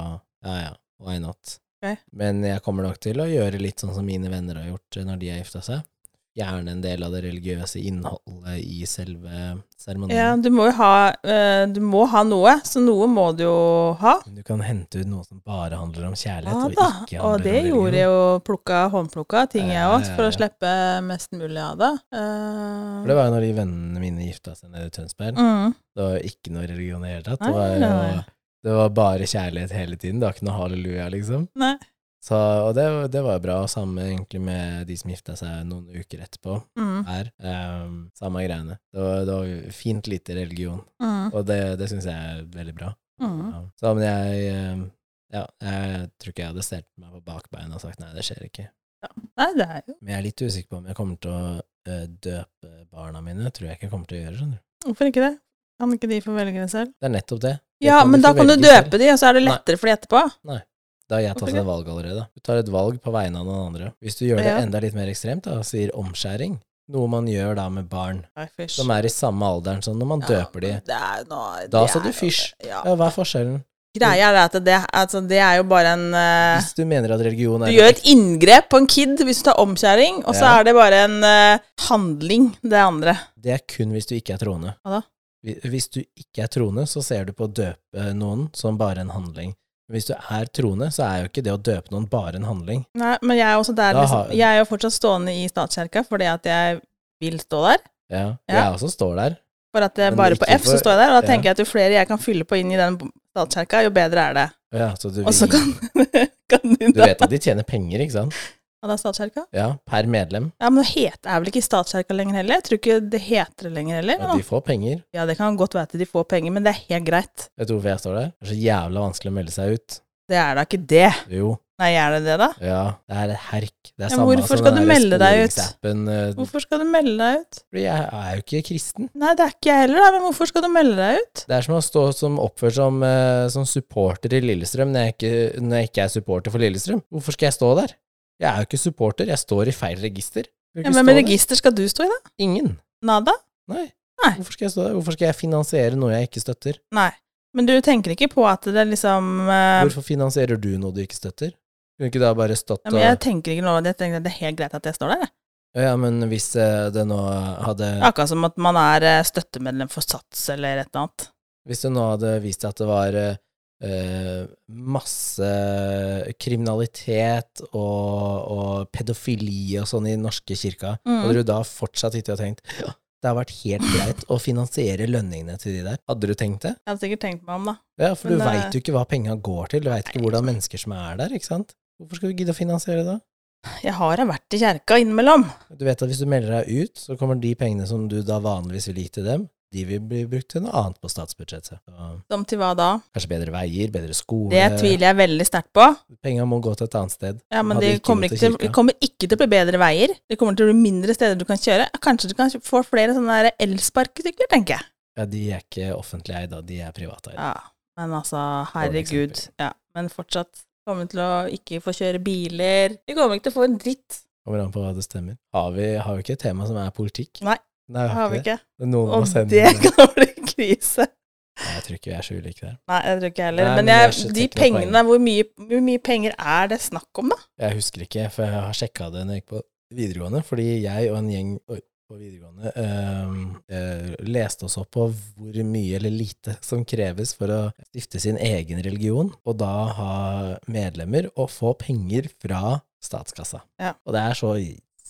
Speaker 1: ja ja, why not?
Speaker 2: Ok.
Speaker 1: Men jeg kommer nok til å gjøre litt sånn som mine venner har gjort eh, når de har gifta seg. Gjerne en del av det religiøse innholdet i selve
Speaker 2: Ja,
Speaker 1: seremonien.
Speaker 2: du må jo ha, eh, du må ha noe, så noe må du jo ha.
Speaker 1: Du kan hente ut noe som bare handler om kjærlighet,
Speaker 2: Ja
Speaker 1: og
Speaker 2: da,
Speaker 1: ikke handler
Speaker 2: og det
Speaker 1: om religion.
Speaker 2: gjorde jeg jo plukka, håndplukka ting jeg
Speaker 1: Ja,
Speaker 2: òg,
Speaker 1: ja,
Speaker 2: for å
Speaker 1: ja.
Speaker 2: slippe mest mulig av det. Eh,
Speaker 1: For det var jo når de vennene mine gifta seg nede i Tønsberg.
Speaker 2: mm,
Speaker 1: Det var jo ikke noe religion i det hele tatt. Det
Speaker 2: Nei,
Speaker 1: var,
Speaker 2: nei,
Speaker 1: jo,
Speaker 2: nei.
Speaker 1: det var bare kjærlighet hele tiden. Det var ikke noe halleluja, liksom.
Speaker 2: nei.
Speaker 1: Så, og det, det var bra. Samme egentlig med de som gifta seg noen uker etterpå.
Speaker 2: Mm,
Speaker 1: Her. Ehm, samme greiene. Det var, det var fint lite religion,
Speaker 2: mm,
Speaker 1: og det, det syns jeg er veldig bra.
Speaker 2: mm.
Speaker 1: Ja. Så men jeg ehm, ja, jeg tror ikke jeg hadde stelt meg på bakbeina og sagt nei, det skjer ikke.
Speaker 2: Nei, det er jo
Speaker 1: Men jeg er litt usikker på om jeg kommer til å eh, døpe barna mine. Tror jeg ikke jeg kommer til å gjøre, skjønner du.
Speaker 2: Hvorfor ikke det? Kan ikke de få velge det selv?
Speaker 1: Det er nettopp det. Det
Speaker 2: Ja,
Speaker 1: kan
Speaker 2: men
Speaker 1: du
Speaker 2: da
Speaker 1: ikke
Speaker 2: kan du
Speaker 1: velge selv.
Speaker 2: døpe de, og så er det
Speaker 1: Nei.
Speaker 2: lettere for de etterpå.
Speaker 1: Da har jeg tatt
Speaker 2: Hvorfor
Speaker 1: et valg allerede. Du tar et valg på vegne av noen andre. Hvis du gjør det
Speaker 2: Ja.
Speaker 1: enda litt mer ekstremt, da, og sier omskjæring, noe man gjør da med barn
Speaker 2: Nei, fysj.
Speaker 1: som er i samme alderen som når man døper de,
Speaker 2: Ja, men det er nå-
Speaker 1: da
Speaker 2: det
Speaker 1: sa
Speaker 2: er
Speaker 1: du
Speaker 2: jo-
Speaker 1: fysj.
Speaker 2: Ja.
Speaker 1: Ja, hva er forskjellen?
Speaker 2: Greia er at det, altså, det er jo bare en eh,
Speaker 1: Hvis du mener at religion
Speaker 2: Du
Speaker 1: er
Speaker 2: gjør et inngrep på en kid hvis du tar omskjæring, og så
Speaker 1: Ja.
Speaker 2: er det bare en eh, handling, det andre.
Speaker 1: Det er kun hvis du ikke er troende.
Speaker 2: Hva da?
Speaker 1: Hvi- Hvis du ikke er troende, så ser du på å døpe noen som bare en handling. Men hvis du er troende, så er jo ikke det å døpe noen bare en handling.
Speaker 2: Nei, men jeg er, også der,
Speaker 1: Da
Speaker 2: liksom,
Speaker 1: har-
Speaker 2: jeg er jo fortsatt stående i statskirka fordi at jeg vil stå der.
Speaker 1: Ja,
Speaker 2: Ja.
Speaker 1: Jeg også står der.
Speaker 2: For at jeg
Speaker 1: Men
Speaker 2: bare på
Speaker 1: ikke
Speaker 2: F så
Speaker 1: for-
Speaker 2: står jeg der, og da
Speaker 1: ja.
Speaker 2: tenker jeg at jo flere jeg kan fylle på inn i den statskirka, jo bedre er det.
Speaker 1: Ja, så du,
Speaker 2: Og så
Speaker 1: vil,
Speaker 2: kan, kan du
Speaker 1: du
Speaker 2: da
Speaker 1: vet at de tjener penger, ikke sant?
Speaker 2: Ja, det er statskirka?
Speaker 1: Ja, per medlem.
Speaker 2: Ja, men det het- er vel ikke statskirka lenger heller? Jeg tror ikke det heter det lenger heller.
Speaker 1: Ja, de får penger.
Speaker 2: Ja, det kan godt være at de får penger, men det er helt greit.
Speaker 1: Vet du hvorfor jeg står der? Det er så jævla vanskelig å melde seg ut.
Speaker 2: Det er da ikke det.
Speaker 1: Jo,
Speaker 2: Nei, er det det, da?
Speaker 1: ja, det er et herk. Det er
Speaker 2: Ja, hvorfor skal du melde deg ut?
Speaker 1: ut?
Speaker 2: Hvorfor skal du melde deg ut?
Speaker 1: eh, Fordi jeg er jo ikke kristen.
Speaker 2: Nei, det er ikke jeg heller, da, men hvorfor skal du melde deg ut?
Speaker 1: Det er som å stå som oppført som, eh, som supporter i Lillestrøm når jeg, ikke, når jeg ikke er supporter for Lillestrøm. Hvorfor skal jeg stå der? Jeg er jo ikke supporter, jeg står i feil register. Jeg vil
Speaker 2: Ja,
Speaker 1: ikke
Speaker 2: men
Speaker 1: stå
Speaker 2: med
Speaker 1: der.
Speaker 2: register skal du stå i, da?
Speaker 1: Ingen.
Speaker 2: Nada?
Speaker 1: Nei.
Speaker 2: Nei.
Speaker 1: Hvorfor skal jeg stå der? Hvorfor skal jeg finansiere noe jeg ikke støtter?
Speaker 2: Nei. Men du tenker ikke på at det liksom eh,
Speaker 1: Hvorfor finansierer du noe du ikke støtter? Kunne ikke da bare stått
Speaker 2: ja,
Speaker 1: og
Speaker 2: men Jeg tenker ikke noe over det. Jeg tenker at det er helt greit at jeg står der. jeg.
Speaker 1: Ja, men hvis eh, det nå hadde
Speaker 2: Akkurat som at man er eh, støttemedlem for Sats eller et eller annet.
Speaker 1: Hvis det nå hadde vist seg at det var eh, eh, masse kriminalitet og, og pedofili og sånn i den norske kirka,
Speaker 2: Mm.
Speaker 1: hadde du da fortsatt sittet og tenkt ja, det har vært helt greit å finansiere lønningene til de der? Hadde du tenkt det?
Speaker 2: Jeg hadde sikkert tenkt meg om, da.
Speaker 1: Ja, for
Speaker 2: Men
Speaker 1: du
Speaker 2: det-
Speaker 1: veit jo ikke hva penga går til, du veit ikke
Speaker 2: Nei,
Speaker 1: hvordan mennesker som er der, ikke sant? Hvorfor skal du gidde å finansiere da?
Speaker 2: Jeg har da vært i kjerka innimellom.
Speaker 1: Du vet at hvis du melder deg ut, så kommer de pengene som du da vanligvis ville gitt til dem, de vil bli brukt til noe annet på statsbudsjettet. Så
Speaker 2: Som til hva da?
Speaker 1: Kanskje bedre veier, bedre skole
Speaker 2: Det tviler jeg veldig sterkt på.
Speaker 1: Penga må gå til et annet sted.
Speaker 2: Ja, men
Speaker 1: Hadde
Speaker 2: det
Speaker 1: ikke
Speaker 2: kommer
Speaker 1: gått
Speaker 2: ikke,
Speaker 1: til
Speaker 2: til, det
Speaker 1: kirka.
Speaker 2: kommer ikke til å bli bedre veier. Det kommer til å bli mindre steder du kan kjøre. Kanskje du kan få flere sånne der elsparkesykler, tenker jeg.
Speaker 1: Ja, de er ikke offentlig eid, da. De er private eid.
Speaker 2: Ja, men altså,
Speaker 1: Dårlig
Speaker 2: herregud.
Speaker 1: eksempel.
Speaker 2: Ja, men fortsatt kommer vi til å ikke få kjøre biler. Vi kommer ikke til å få en dritt.
Speaker 1: Kommer an på hva det stemmer. Har vi, har vi ikke et tema som er politikk?
Speaker 2: Nei.
Speaker 1: Nei,
Speaker 2: Det
Speaker 1: vi
Speaker 2: har
Speaker 1: har
Speaker 2: vi
Speaker 1: ikke det.
Speaker 2: ikke.
Speaker 1: Noen må
Speaker 2: Og
Speaker 1: sende det.
Speaker 2: det kan bli krise.
Speaker 1: Nei, jeg tror ikke vi er så ulike der.
Speaker 2: Nei, jeg tror ikke jeg heller.
Speaker 1: Nei, men
Speaker 2: men
Speaker 1: det er
Speaker 2: jeg,
Speaker 1: ikke
Speaker 2: de
Speaker 1: teknisk poeng.
Speaker 2: pengene, hvor mye, hvor mye penger er det snakk om, da?
Speaker 1: Jeg husker ikke, for jeg har sjekka det når jeg gikk på videregående, fordi jeg og en gjeng oi, på videregående eh, eh, leste oss opp på hvor mye eller lite som kreves for å stifte sin egen religion, og da ha medlemmer og få penger fra statskassa.
Speaker 2: Ja.
Speaker 1: Og det er så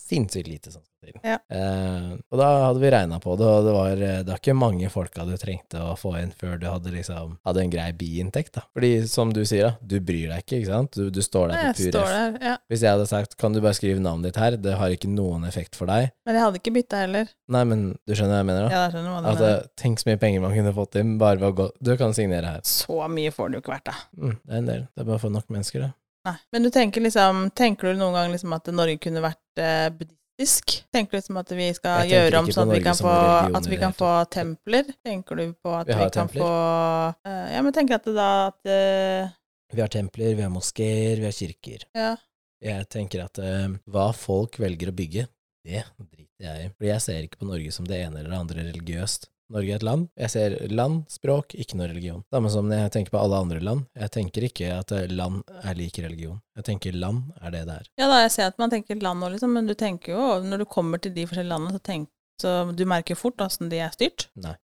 Speaker 1: sinnssykt lite som skal til.
Speaker 2: Ja.
Speaker 1: Eh, og da hadde vi regna på det, og det var, eh, det var ikke mange folka du trengte å få inn før du hadde, liksom, hadde en grei biinntekt. da. Fordi som du sier, da, du bryr deg ikke, ikke sant? Du, du står der
Speaker 2: Jeg
Speaker 1: på pur
Speaker 2: står
Speaker 1: F.
Speaker 2: der, ja.
Speaker 1: Hvis jeg hadde sagt 'kan du bare skrive navnet ditt her', det har ikke noen effekt for deg.
Speaker 2: Men jeg hadde ikke bytta heller.
Speaker 1: Nei, men du skjønner hva jeg mener? da?
Speaker 2: Ja, sånn, jeg skjønner hva du
Speaker 1: At
Speaker 2: mener.
Speaker 1: eh, Tenk så mye penger man kunne fått inn bare ved å gå Du kan signere her.
Speaker 2: Så mye får det jo ikke vært, da.
Speaker 1: Mm, det er en del. Det er bare å få nok mennesker, det.
Speaker 2: Nei. Men du tenker liksom Tenker du noen gang liksom at Norge kunne vært eh, buddhistisk? Tenker du liksom at vi skal
Speaker 1: Jeg tenker
Speaker 2: gjøre om
Speaker 1: ikke på
Speaker 2: sånn at vi
Speaker 1: Norge
Speaker 2: kan
Speaker 1: som
Speaker 2: få
Speaker 1: religion
Speaker 2: At
Speaker 1: i
Speaker 2: vi
Speaker 1: det
Speaker 2: kan
Speaker 1: hele
Speaker 2: få templer? Tenker du på at
Speaker 1: Vi
Speaker 2: vi,
Speaker 1: har
Speaker 2: kan
Speaker 1: templer.
Speaker 2: få eh, Ja, men tenker at det da at eh,
Speaker 1: Vi har templer, vi har moskeer, vi har kirker.
Speaker 2: Ja.
Speaker 1: Jeg tenker at eh, hva folk velger å bygge, det driter jeg i. Fordi jeg ser ikke på Norge som det ene eller det andre religiøst. Norge er et land. Jeg ser land, språk, ikke noe religion. Samme som når jeg tenker på alle andre land. Jeg tenker ikke at eh, land er lik religion. Jeg tenker land er det det er.
Speaker 2: Ja da, jeg ser at man tenker land òg, liksom, men du tenker jo Når du kommer til de forskjellige landene, så, tenk, så du merker fort åssen de er styrt.
Speaker 1: Nei,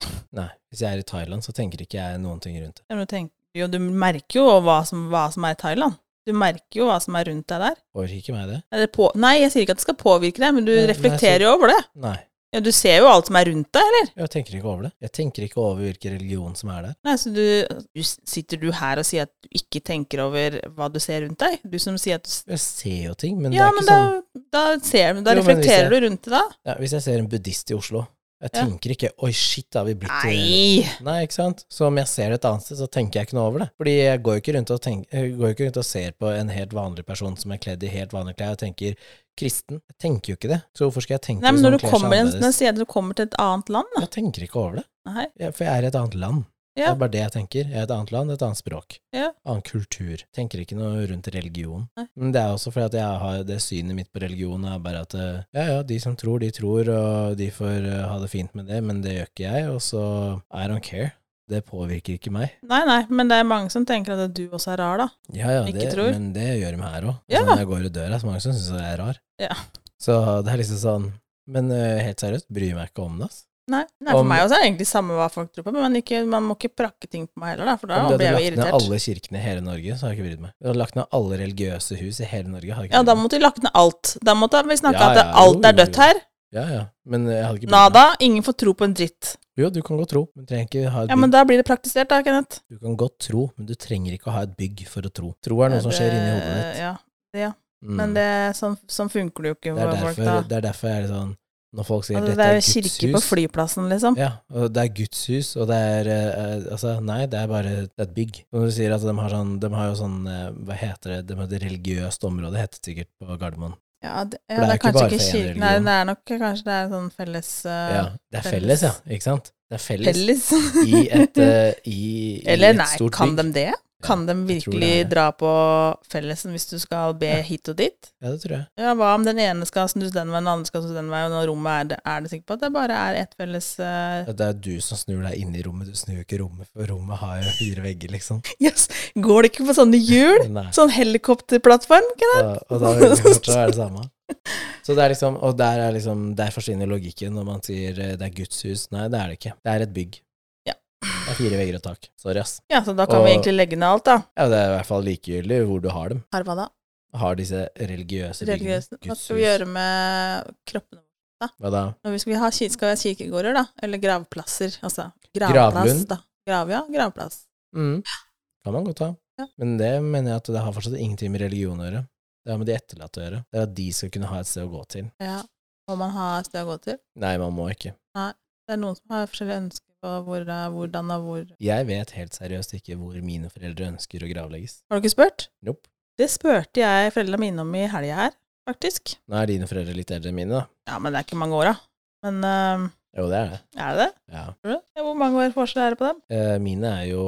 Speaker 1: hvis jeg er i Thailand, så tenker ikke jeg noen ting rundt det.
Speaker 2: Ja, men du tenker jo, du merker jo hva som, hva som er i Thailand. Du merker jo hva som er rundt deg der.
Speaker 1: Påvirker ikke meg det?
Speaker 2: Er det på, nei, jeg sier ikke at det skal påvirke deg, men du
Speaker 1: Nei, nei, jeg
Speaker 2: reflekterer
Speaker 1: sier-
Speaker 2: jo over det.
Speaker 1: Nei.
Speaker 2: Ja, du ser jo alt som er rundt deg, eller?
Speaker 1: Jeg tenker ikke over det. Jeg tenker ikke over hvilken religion som er der.
Speaker 2: Nei, så du, du sitter du her og sier at du ikke tenker over hva du ser rundt deg? Du som sier at du, s-
Speaker 1: Jeg ser jo ting, men det
Speaker 2: Ja,
Speaker 1: er
Speaker 2: men
Speaker 1: ikke
Speaker 2: da,
Speaker 1: sånn
Speaker 2: da ser du Da
Speaker 1: Jo, men hvis
Speaker 2: reflekterer
Speaker 1: jeg-
Speaker 2: du rundt det, da?
Speaker 1: ja, Hvis jeg ser en buddhist i Oslo, jeg
Speaker 2: Ja.
Speaker 1: tenker ikke 'oi, shit, da har vi blitt
Speaker 2: Nei!
Speaker 1: Nei, ikke sant? Så om jeg ser det et annet sted, så tenker jeg ikke noe over det. Fordi jeg går jo ikke rundt og, tenk, jeg går jo ikke rundt og ser på en helt vanlig person som er kledd i helt vanlige klær, og tenker 'kristen'. Jeg tenker jo ikke det. Så hvorfor skal jeg tenke
Speaker 2: Nei, men
Speaker 1: sånn
Speaker 2: når du
Speaker 1: kler seg
Speaker 2: kommer, i en- når
Speaker 1: annerledes?
Speaker 2: jeg sier at du kommer til et annet land, da
Speaker 1: Jeg tenker ikke over det.
Speaker 2: Nei.
Speaker 1: Jeg- For jeg er i et annet land. Det
Speaker 2: Ja.
Speaker 1: er bare det jeg tenker. Jeg er i et annet land, et annet språk.
Speaker 2: Ja.
Speaker 1: Annen kultur. Tenker ikke noe rundt religion.
Speaker 2: Nei.
Speaker 1: Men det er også fordi at jeg har det synet mitt på religion er bare at eh, ja, ja, de som tror, de tror, og de får eh, ha det fint med det, men det gjør ikke jeg, og så I don't care. Det påvirker ikke meg.
Speaker 2: Nei, nei, men det er mange som tenker at du også er rar, da.
Speaker 1: Ja, ja,
Speaker 2: Ikke
Speaker 1: det,
Speaker 2: tror.
Speaker 1: men det gjør de her òg.
Speaker 2: Ja.
Speaker 1: Når jeg går i døra, så er mange som syns jeg er rar.
Speaker 2: Ja.
Speaker 1: Så det er liksom sånn Men eh, helt seriøst, bryr meg ikke om det. ass.
Speaker 2: Nei, nei for
Speaker 1: Om-
Speaker 2: meg også er det egentlig samme hva folk tror på, men ikke, man må ikke prakke ting på meg heller, da, for da
Speaker 1: Om du hadde
Speaker 2: blir jeg jo
Speaker 1: lagt ned
Speaker 2: irritert.
Speaker 1: alle kirkene i hele Norge, så hadde jeg ikke brydd meg. Du hadde lagt ned alle religiøse hus i hele Norge. Hadde jeg
Speaker 2: Ja,
Speaker 1: ikke
Speaker 2: da
Speaker 1: brydd meg.
Speaker 2: måtte vi lagt ned alt. Da måtte vi snakke
Speaker 1: Ja,
Speaker 2: at
Speaker 1: ja,
Speaker 2: alt
Speaker 1: jo,
Speaker 2: er
Speaker 1: jo,
Speaker 2: dødt
Speaker 1: jo.
Speaker 2: her.
Speaker 1: ja, ja. Men jeg hadde ikke brydd meg.
Speaker 2: Nada, ingen får tro på en dritt.
Speaker 1: Jo, du kan godt tro, men du trenger ikke ha et
Speaker 2: Ja, men
Speaker 1: bygg.
Speaker 2: da blir det praktisert, da, Kenneth.
Speaker 1: Du kan godt tro, men du trenger ikke å ha et bygg for å tro. Tro er noe som skjer inni hodet ditt.
Speaker 2: Eh, Ja,
Speaker 1: Mm.
Speaker 2: men det, sånn, sånn funker det jo ikke
Speaker 1: Det er
Speaker 2: for folk,
Speaker 1: derfor,
Speaker 2: da.
Speaker 1: det er derfor jeg er litt sånn Når folk sier
Speaker 2: Altså,
Speaker 1: 'dette
Speaker 2: det er
Speaker 1: er
Speaker 2: jo
Speaker 1: Guds
Speaker 2: kirke på
Speaker 1: hus'
Speaker 2: flyplassen, liksom.
Speaker 1: Ja, og det er Guds hus, og det er eh, Altså, nei, det er bare et bygg. Som du sier, at de har sånn De har jo sånn eh, Hva heter det De har et religiøst område, heter det sikkert på Gardermoen.
Speaker 2: Ja, det,
Speaker 1: For det
Speaker 2: ja, det
Speaker 1: er
Speaker 2: er
Speaker 1: ikke
Speaker 2: kanskje
Speaker 1: bare
Speaker 2: ikke
Speaker 1: for en
Speaker 2: kirke... Nei,
Speaker 1: religion.
Speaker 2: det er nok kanskje det er en sånn felles eh,
Speaker 1: Ja. Det er
Speaker 2: felles.
Speaker 1: felles, ja. Ikke sant? Det er felles.
Speaker 2: Felles.
Speaker 1: I et, eh, i, i
Speaker 2: Eller
Speaker 1: et
Speaker 2: nei,
Speaker 1: stort bygg.
Speaker 2: kan de det? Kan de
Speaker 1: jeg tror det
Speaker 2: virkelig
Speaker 1: er det.
Speaker 2: dra på fellesen hvis du skal be
Speaker 1: Ja.
Speaker 2: hit og dit?
Speaker 1: Ja, det tror jeg.
Speaker 2: Ja, hva om den ene skal snus den veien, den andre skal snus den veien, og når rommet er det, er det sikkert på at det bare er ett felles eh,
Speaker 1: Ja, Det er du som snur deg inn i rommet, du snur jo ikke rommet, for rommet har jo fire vegger, liksom.
Speaker 2: Yes! Går det ikke på sånne hjul?
Speaker 1: Nei.
Speaker 2: Sånn helikopterplattform? ikke?
Speaker 1: Ja, og da vil det fortsatt være det samme. Så det er liksom, og der, er liksom, der forsvinner logikken når man sier eh, det er Guds hus. Nei, det er det ikke. Det er et bygg.
Speaker 2: Ja.
Speaker 1: Det er fire vegger og tak. Sorry, ass.
Speaker 2: Ja, så da kan
Speaker 1: Og-
Speaker 2: vi egentlig legge ned alt, da.
Speaker 1: Ja, det er i hvert fall likegyldig hvor du har dem.
Speaker 2: Her, hva da?
Speaker 1: Har disse religiøse byggene.
Speaker 2: Religiøsen. Hva skal vi gjøre med kroppene?
Speaker 1: Hva da?
Speaker 2: Når vi skal, ha, ki- skal vi ha kirkegårder, da? Eller gravplasser? Altså gravplass,
Speaker 1: Gravlund?
Speaker 2: da. Grav, ja. Gravplass.
Speaker 1: Mm. Kan man godt ha.
Speaker 2: Ja.
Speaker 1: Men det mener jeg at det har fortsatt ingenting med religion å gjøre. Det har med de etterlatte å gjøre. Det er at de skal kunne ha et sted å gå til.
Speaker 2: Ja. Må man ha et sted å gå til?
Speaker 1: Nei, man må ikke.
Speaker 2: Det er noen som har forskjellige ønsker på hvor, eh, hvordan og hvor
Speaker 1: Jeg vet helt seriøst ikke hvor mine foreldre ønsker å gravlegges.
Speaker 2: Har du ikke spurt?
Speaker 1: Nope.
Speaker 2: Det spurte jeg foreldrene mine om i helga her, faktisk.
Speaker 1: Nå er dine foreldre litt eldre enn mine, da.
Speaker 2: Ja, men det er ikke mange år, da. Men eh,
Speaker 1: Jo, det er det.
Speaker 2: er det det?
Speaker 1: Ja.
Speaker 2: Tror du det? Ja, Hvor mange år forskjell er det på dem?
Speaker 1: Eh, mine er jo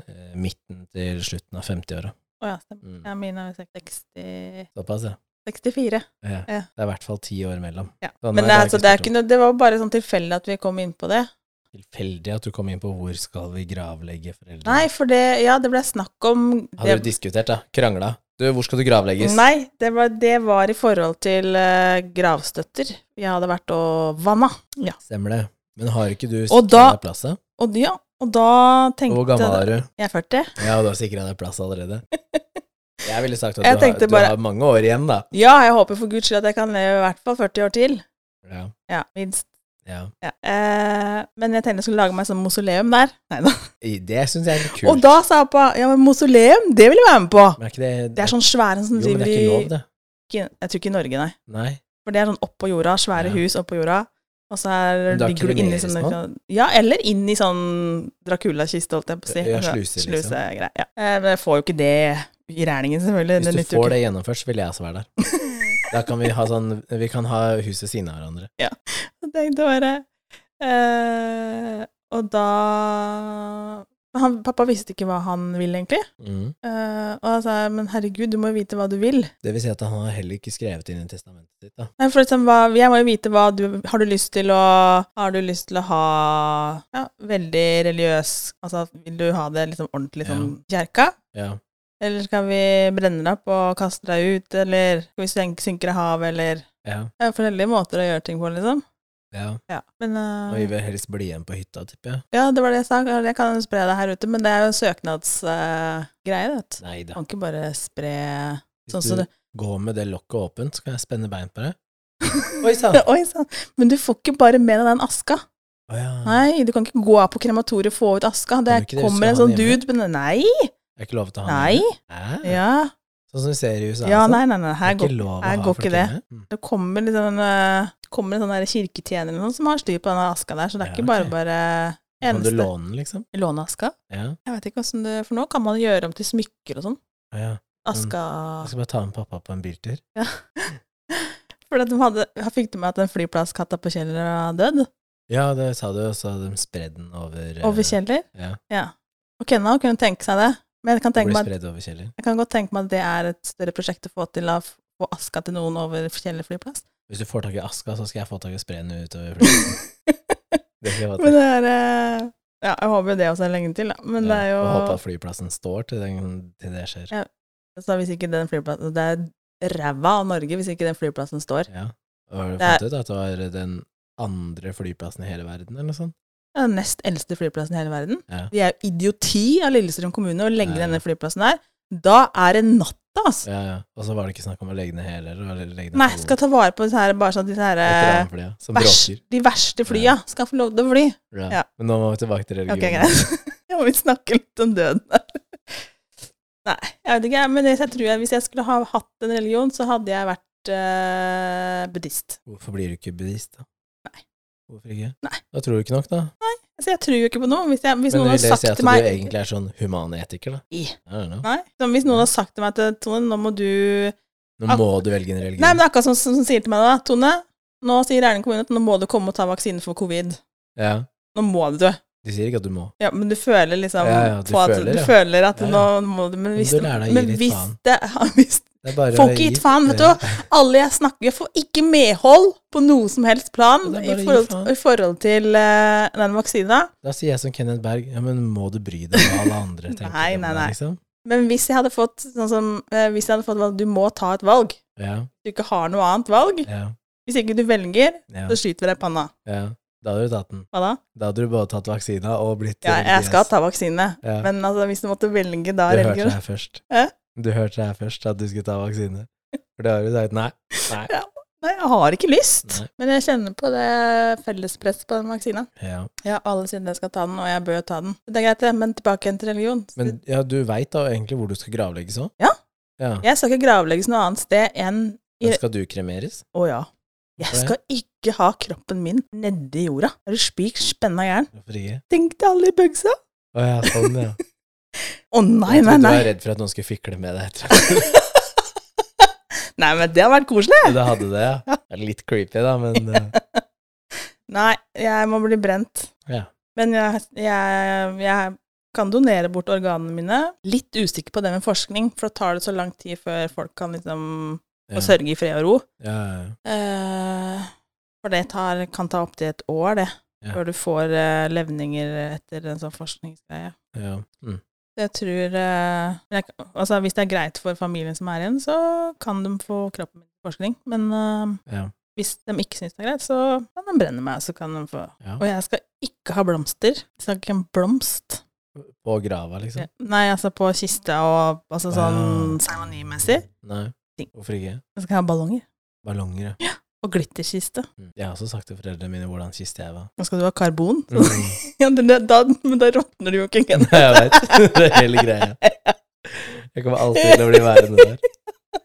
Speaker 1: eh, midten til slutten av 50-åra.
Speaker 2: Å ja, stemmer.
Speaker 1: Mm.
Speaker 2: Ja, mine er 60,
Speaker 1: Såpass, ja.
Speaker 2: 64.
Speaker 1: ja.
Speaker 2: Ja.
Speaker 1: Det er i hvert fall ti år mellom.
Speaker 2: Ja.
Speaker 1: Sånn,
Speaker 2: Men
Speaker 1: nei,
Speaker 2: det,
Speaker 1: har
Speaker 2: altså,
Speaker 1: jeg
Speaker 2: det, er
Speaker 1: spurt
Speaker 2: ikke noe, det var bare sånn tilfeldig at vi kom inn på det.
Speaker 1: om. Tilfeldig at du kom inn på hvor skal vi gravlegge foreldrene.
Speaker 2: Nei, for det Ja, det ble snakk om
Speaker 1: Hadde
Speaker 2: det,
Speaker 1: du diskutert, da? Krangla? Du, hvor skal du gravlegges?
Speaker 2: Nei, det var, det var i forhold til eh, gravstøtter. Jeg hadde vært og vanna. Ja.
Speaker 1: Stemmer det. Men har ikke du
Speaker 2: Og
Speaker 1: sikra
Speaker 2: da-
Speaker 1: deg plass? da?
Speaker 2: Og, ja, og da tenkte
Speaker 1: Hvor gammel er du?
Speaker 2: Jeg er 40.
Speaker 1: Ja, du har sikra deg plass allerede. Jeg ville sagt at
Speaker 2: Jeg
Speaker 1: du har,
Speaker 2: tenkte
Speaker 1: du
Speaker 2: bare-
Speaker 1: har mange år igjen, da.
Speaker 2: Ja, jeg håper for guds skyld at jeg kan leve i hvert fall 40 år til.
Speaker 1: Ja,
Speaker 2: Ja, minst.
Speaker 1: ja.
Speaker 2: Ja. Eh, men jeg tenkte jeg skulle lage meg sånn mausoleum der. Neida.
Speaker 1: I- Det syns jeg er litt
Speaker 2: Og
Speaker 1: kult.
Speaker 2: da sa pappa ja, men mausoleum, det vil jeg være med på.
Speaker 1: Men er ikke det,
Speaker 2: Det er sånn svære som
Speaker 1: Jo, men det
Speaker 2: driver
Speaker 1: er
Speaker 2: i
Speaker 1: ikke lov, det.
Speaker 2: ikke- Jeg tror ikke i Norge, nei.
Speaker 1: Nei.
Speaker 2: For det er sånn oppå jorda, svære
Speaker 1: Ja.
Speaker 2: hus oppå jorda. Og så er,
Speaker 1: Men da
Speaker 2: ligger du inni
Speaker 1: kremeres
Speaker 2: sånn
Speaker 1: man?
Speaker 2: Ja, eller inn i sånn Dracula-kiste, holdt jeg på å si.
Speaker 1: Ja,
Speaker 2: Altså,
Speaker 1: sluse, liksom.
Speaker 2: Sluse-greie. Ja. Eh, Men jeg får jo ikke det i regningen, selvfølgelig.
Speaker 1: Hvis
Speaker 2: det
Speaker 1: du
Speaker 2: nytter jo
Speaker 1: får
Speaker 2: ikke.
Speaker 1: det gjennomført, så vil jeg også være der. Da kan vi ha sånn Vi kan ha hus ved siden av hverandre.
Speaker 2: Jeg tenkte bare eh, Og da han, Pappa visste ikke hva han ville, egentlig.
Speaker 1: Mm.
Speaker 2: Eh, og han sa men herregud, du må jo vite hva du vil.
Speaker 1: Det vil si at han har heller ikke skrevet inn i testamentet sitt, da.
Speaker 2: Nei, for liksom, hva, jeg må jo vite hva du Har du lyst til å Har du lyst til å ha ja, veldig religiøs Altså, vil du ha det liksom ordentlig sånn kjerka?
Speaker 1: Ja.
Speaker 2: Eller skal vi brenne deg opp og kaste deg ut, eller skal vi synke, synke deg i havet, eller
Speaker 1: Ja.
Speaker 2: Det er forskjellige måter å gjøre ting på, liksom.
Speaker 1: ja.
Speaker 2: Ja, men eh,
Speaker 1: Og vi vil helst bli igjen på hytta, tipper jeg.
Speaker 2: Ja, det var det jeg sa. Jeg kan spre det her ute, men det er jo en søknadsgreie, vet du.
Speaker 1: Nei da.
Speaker 2: Kan ikke bare spre sånn
Speaker 1: Hvis
Speaker 2: som
Speaker 1: du
Speaker 2: det
Speaker 1: går med det lokket åpent, så kan jeg spenne bein på deg. Oi sann!
Speaker 2: Oi sann. Men du får ikke bare med deg den aska.
Speaker 1: Å ja.
Speaker 2: Nei, du kan ikke gå av på krematoriet og få ut aska.
Speaker 1: Kan
Speaker 2: Det
Speaker 1: du ikke det?
Speaker 2: kommer en
Speaker 1: Skal han
Speaker 2: sånn
Speaker 1: hjemme?
Speaker 2: dude men Nei!
Speaker 1: Det er ikke lov til å ha
Speaker 2: Nei!
Speaker 1: med. Hæ?
Speaker 2: Ja,
Speaker 1: Sånn som vi ser i USA.
Speaker 2: ja
Speaker 1: altså.
Speaker 2: nei, nei, nei.
Speaker 1: Det
Speaker 2: Her
Speaker 1: er
Speaker 2: går,
Speaker 1: ikke lov å
Speaker 2: her
Speaker 1: ha
Speaker 2: går
Speaker 1: folk
Speaker 2: ikke det.
Speaker 1: inne. Mm.
Speaker 2: det kommer liksom en, eh, kommer en sånn der kirketjener eller noe som har styr på denne aska der, så det er
Speaker 1: Ja,
Speaker 2: ikke bare
Speaker 1: ok.
Speaker 2: bare
Speaker 1: Kan du
Speaker 2: eneste
Speaker 1: låne den, liksom?
Speaker 2: låneaska.
Speaker 1: Ja.
Speaker 2: Jeg vet ikke åssen det For nå kan man gjøre om til smykker og sånn.
Speaker 1: Å ja.
Speaker 2: Aska
Speaker 1: Jeg skal bare ta med pappa på en biltur.
Speaker 2: For at de hadde, jeg fikk det med at den flyplasskatta på Kjeller var død.
Speaker 1: Ja, det sa du, og så hadde de spredd den over eh,
Speaker 2: Over Kjeller.
Speaker 1: Ja.
Speaker 2: Ja. Og Kenna kunne tenke seg det. Men jeg kan,
Speaker 1: Det
Speaker 2: tenke
Speaker 1: blir
Speaker 2: meg, at-
Speaker 1: spredd over kjeller.
Speaker 2: jeg kan godt tenke meg at det er et større prosjekt å få til å få aska til noen over Kjeller flyplass.
Speaker 1: Hvis du får tak i aska, så skal jeg få tak i og spre den utover flyplassen. Det skal jeg få til.
Speaker 2: Men det er eh, Ja, jeg håper jo det også er lenge til, da. Men det
Speaker 1: Ja,
Speaker 2: er
Speaker 1: Og håpe at
Speaker 2: jo
Speaker 1: flyplassen står til, den, til det skjer.
Speaker 2: Ja. så hvis ikke den flyplassen Det er ræva av Norge hvis ikke den flyplassen står.
Speaker 1: Ja. Og har du
Speaker 2: Det er-
Speaker 1: funnet ut at det var den andre flyplassen i hele verden, eller noe sånt?
Speaker 2: Det er den nest eldste flyplassen i hele verden.
Speaker 1: Ja.
Speaker 2: De er jo idioti av Lillestrøm kommune å legge
Speaker 1: Ja.
Speaker 2: denne flyplassen der. Da er det natta, altså!
Speaker 1: Ja, ja. Og så var det ikke snakk om å legge ned heller. Eller legge ned
Speaker 2: Nei, skal ta vare på disse her, bare sånn at disse her eh,
Speaker 1: veteranflya, som
Speaker 2: vers,
Speaker 1: bråker.
Speaker 2: de verste flya skal få lov til å fly.
Speaker 1: Ja.
Speaker 2: Ja.
Speaker 1: Men nå må vi tilbake til
Speaker 2: Ok,
Speaker 1: religionen.
Speaker 2: greit. Jeg må vi snakke litt om døden her. Nei, jeg vet ikke, men jeg tror jeg, hvis jeg skulle ha hatt en religion, så hadde jeg vært eh, buddhist.
Speaker 1: Hvorfor blir du ikke buddhist, da?
Speaker 2: Nei.
Speaker 1: Hvorfor ikke?
Speaker 2: Nei.
Speaker 1: Da tror du ikke nok, da.
Speaker 2: Altså, jeg tror jo ikke på noe. Hvis, jeg, hvis
Speaker 1: Men
Speaker 2: noen
Speaker 1: vil
Speaker 2: har
Speaker 1: det
Speaker 2: sagt
Speaker 1: si at
Speaker 2: til meg
Speaker 1: du egentlig er sånn humanetiker, da?
Speaker 2: I.
Speaker 1: I don't know.
Speaker 2: Nei, så hvis noen har sagt til meg at Tone, nå må du
Speaker 1: Nå må du velge en religion.
Speaker 2: Nei, men det er akkurat som, som, som sier til meg da, Tone, nå sier Erlend kommune at nå må du komme og ta vaksine for covid.
Speaker 1: ja.
Speaker 2: Nå må du.
Speaker 1: De sier ikke at du må.
Speaker 2: Ja, men du føler liksom
Speaker 1: Ja, ja, du
Speaker 2: på at,
Speaker 1: føler,
Speaker 2: du
Speaker 1: ja.
Speaker 2: føler at
Speaker 1: Ja, ja.
Speaker 2: nå må du Men hvis,
Speaker 1: du lærer deg å gi
Speaker 2: men
Speaker 1: litt
Speaker 2: hvis
Speaker 1: faen.
Speaker 2: det hvis,
Speaker 1: Det er bare
Speaker 2: Folk
Speaker 1: å
Speaker 2: gir
Speaker 1: gi-
Speaker 2: faen, vet du.
Speaker 1: Ja.
Speaker 2: Alle jeg snakker Jeg får ikke medhold på noe som helst plan
Speaker 1: Ja, det er
Speaker 2: i
Speaker 1: bare å gi
Speaker 2: forhold,
Speaker 1: faen.
Speaker 2: i forhold til eh, den vaksina.
Speaker 1: Da sier jeg som Kenneth Berg, ja, men må du bry deg om alle andre tenker
Speaker 2: Nei,
Speaker 1: om
Speaker 2: nei,
Speaker 1: deg,
Speaker 2: nei.
Speaker 1: Liksom?
Speaker 2: Men hvis jeg hadde fått sånn som eh, Hvis jeg hadde fått valg Du må ta et valg.
Speaker 1: Ja,
Speaker 2: Du ikke har noe annet valg.
Speaker 1: ja,
Speaker 2: Hvis ikke du velger,
Speaker 1: ja,
Speaker 2: så skyter vi deg i panna.
Speaker 1: ja. Da hadde du tatt den.
Speaker 2: Hva da?
Speaker 1: Da hadde du både tatt vaksina og blitt
Speaker 2: Ja, jeg skal ta vaksine.
Speaker 1: Ja.
Speaker 2: Men altså, hvis du måtte velge da
Speaker 1: Du hørte det
Speaker 2: religion
Speaker 1: her først.
Speaker 2: Hæ?
Speaker 1: Du hørte det her først, at du skulle ta vaksine. For det har du sagt nei. Nei.
Speaker 2: Nei, jeg har ikke lyst.
Speaker 1: Nei.
Speaker 2: Men jeg kjenner på det fellespresset på den vaksina.
Speaker 1: Ja.
Speaker 2: Ja, alle sier jeg skal ta den, og jeg bør ta den. Det er greit, det, men tilbake igjen til religion.
Speaker 1: Men ja, du veit da egentlig hvor du skal gravlegges òg?
Speaker 2: Ja.
Speaker 1: ja.
Speaker 2: Jeg skal ikke gravlegges noe annet sted enn
Speaker 1: Men skal du kremeres?
Speaker 2: Å ja. Jeg
Speaker 1: Hvorfor
Speaker 2: skal ikke ha kroppen min nedi jorda. Er du spik spenna gæren?
Speaker 1: Hvorfor ikke?
Speaker 2: Tenk deg alle i bøgsa!
Speaker 1: Å ja, sånn, ja.
Speaker 2: Å nei,
Speaker 1: jeg
Speaker 2: nei,
Speaker 1: trodde du
Speaker 2: nei.
Speaker 1: var redd for at noen skulle fikle med deg etter at
Speaker 2: Nei, men det har vært koselig!
Speaker 1: du hadde det, ja. Det er litt creepy, da, men eh,
Speaker 2: Nei, jeg må bli brent.
Speaker 1: Ja.
Speaker 2: Men jeg, jeg, jeg kan donere bort organene mine. Litt usikker på det med forskning, for da tar det så lang tid før folk kan liksom
Speaker 1: Ja.
Speaker 2: få sørge i fred og ro.
Speaker 1: ja, ja, ja.
Speaker 2: Eh, for det tar, kan ta opptil et år, det.
Speaker 1: Ja.
Speaker 2: Før du får eh, levninger etter en sånn forskningsgreie.
Speaker 1: Ja. Mm.
Speaker 2: Jeg tror eh, jeg, Altså, hvis det er greit for familien som er igjen, så kan de få kroppen min til forskning. Men eh,
Speaker 1: Ja.
Speaker 2: hvis de ikke syns det er greit, så kan de brenne meg, så kan de få
Speaker 1: Ja.
Speaker 2: Og jeg skal ikke ha blomster. Jeg skal ikke ha en blomst.
Speaker 1: På grava, liksom?
Speaker 2: Nei, altså på kista og altså sånn
Speaker 1: Ah.
Speaker 2: seremonimessig.
Speaker 1: Nei.
Speaker 2: Ting.
Speaker 1: Hvorfor ikke?
Speaker 2: Jeg skal ha ballonger.
Speaker 1: Ballonger, ja.
Speaker 2: Og glitterkiste.
Speaker 1: Mm. Jeg har også sagt til foreldrene mine hvordan kiste jeg var.
Speaker 2: Nå skal du ha karbon.
Speaker 1: Mm.
Speaker 2: Ja, men det- da, men da råtner du jo ikke igjen.
Speaker 1: jeg veit. Det er hele greia. Jeg kommer alltid til å bli værende der.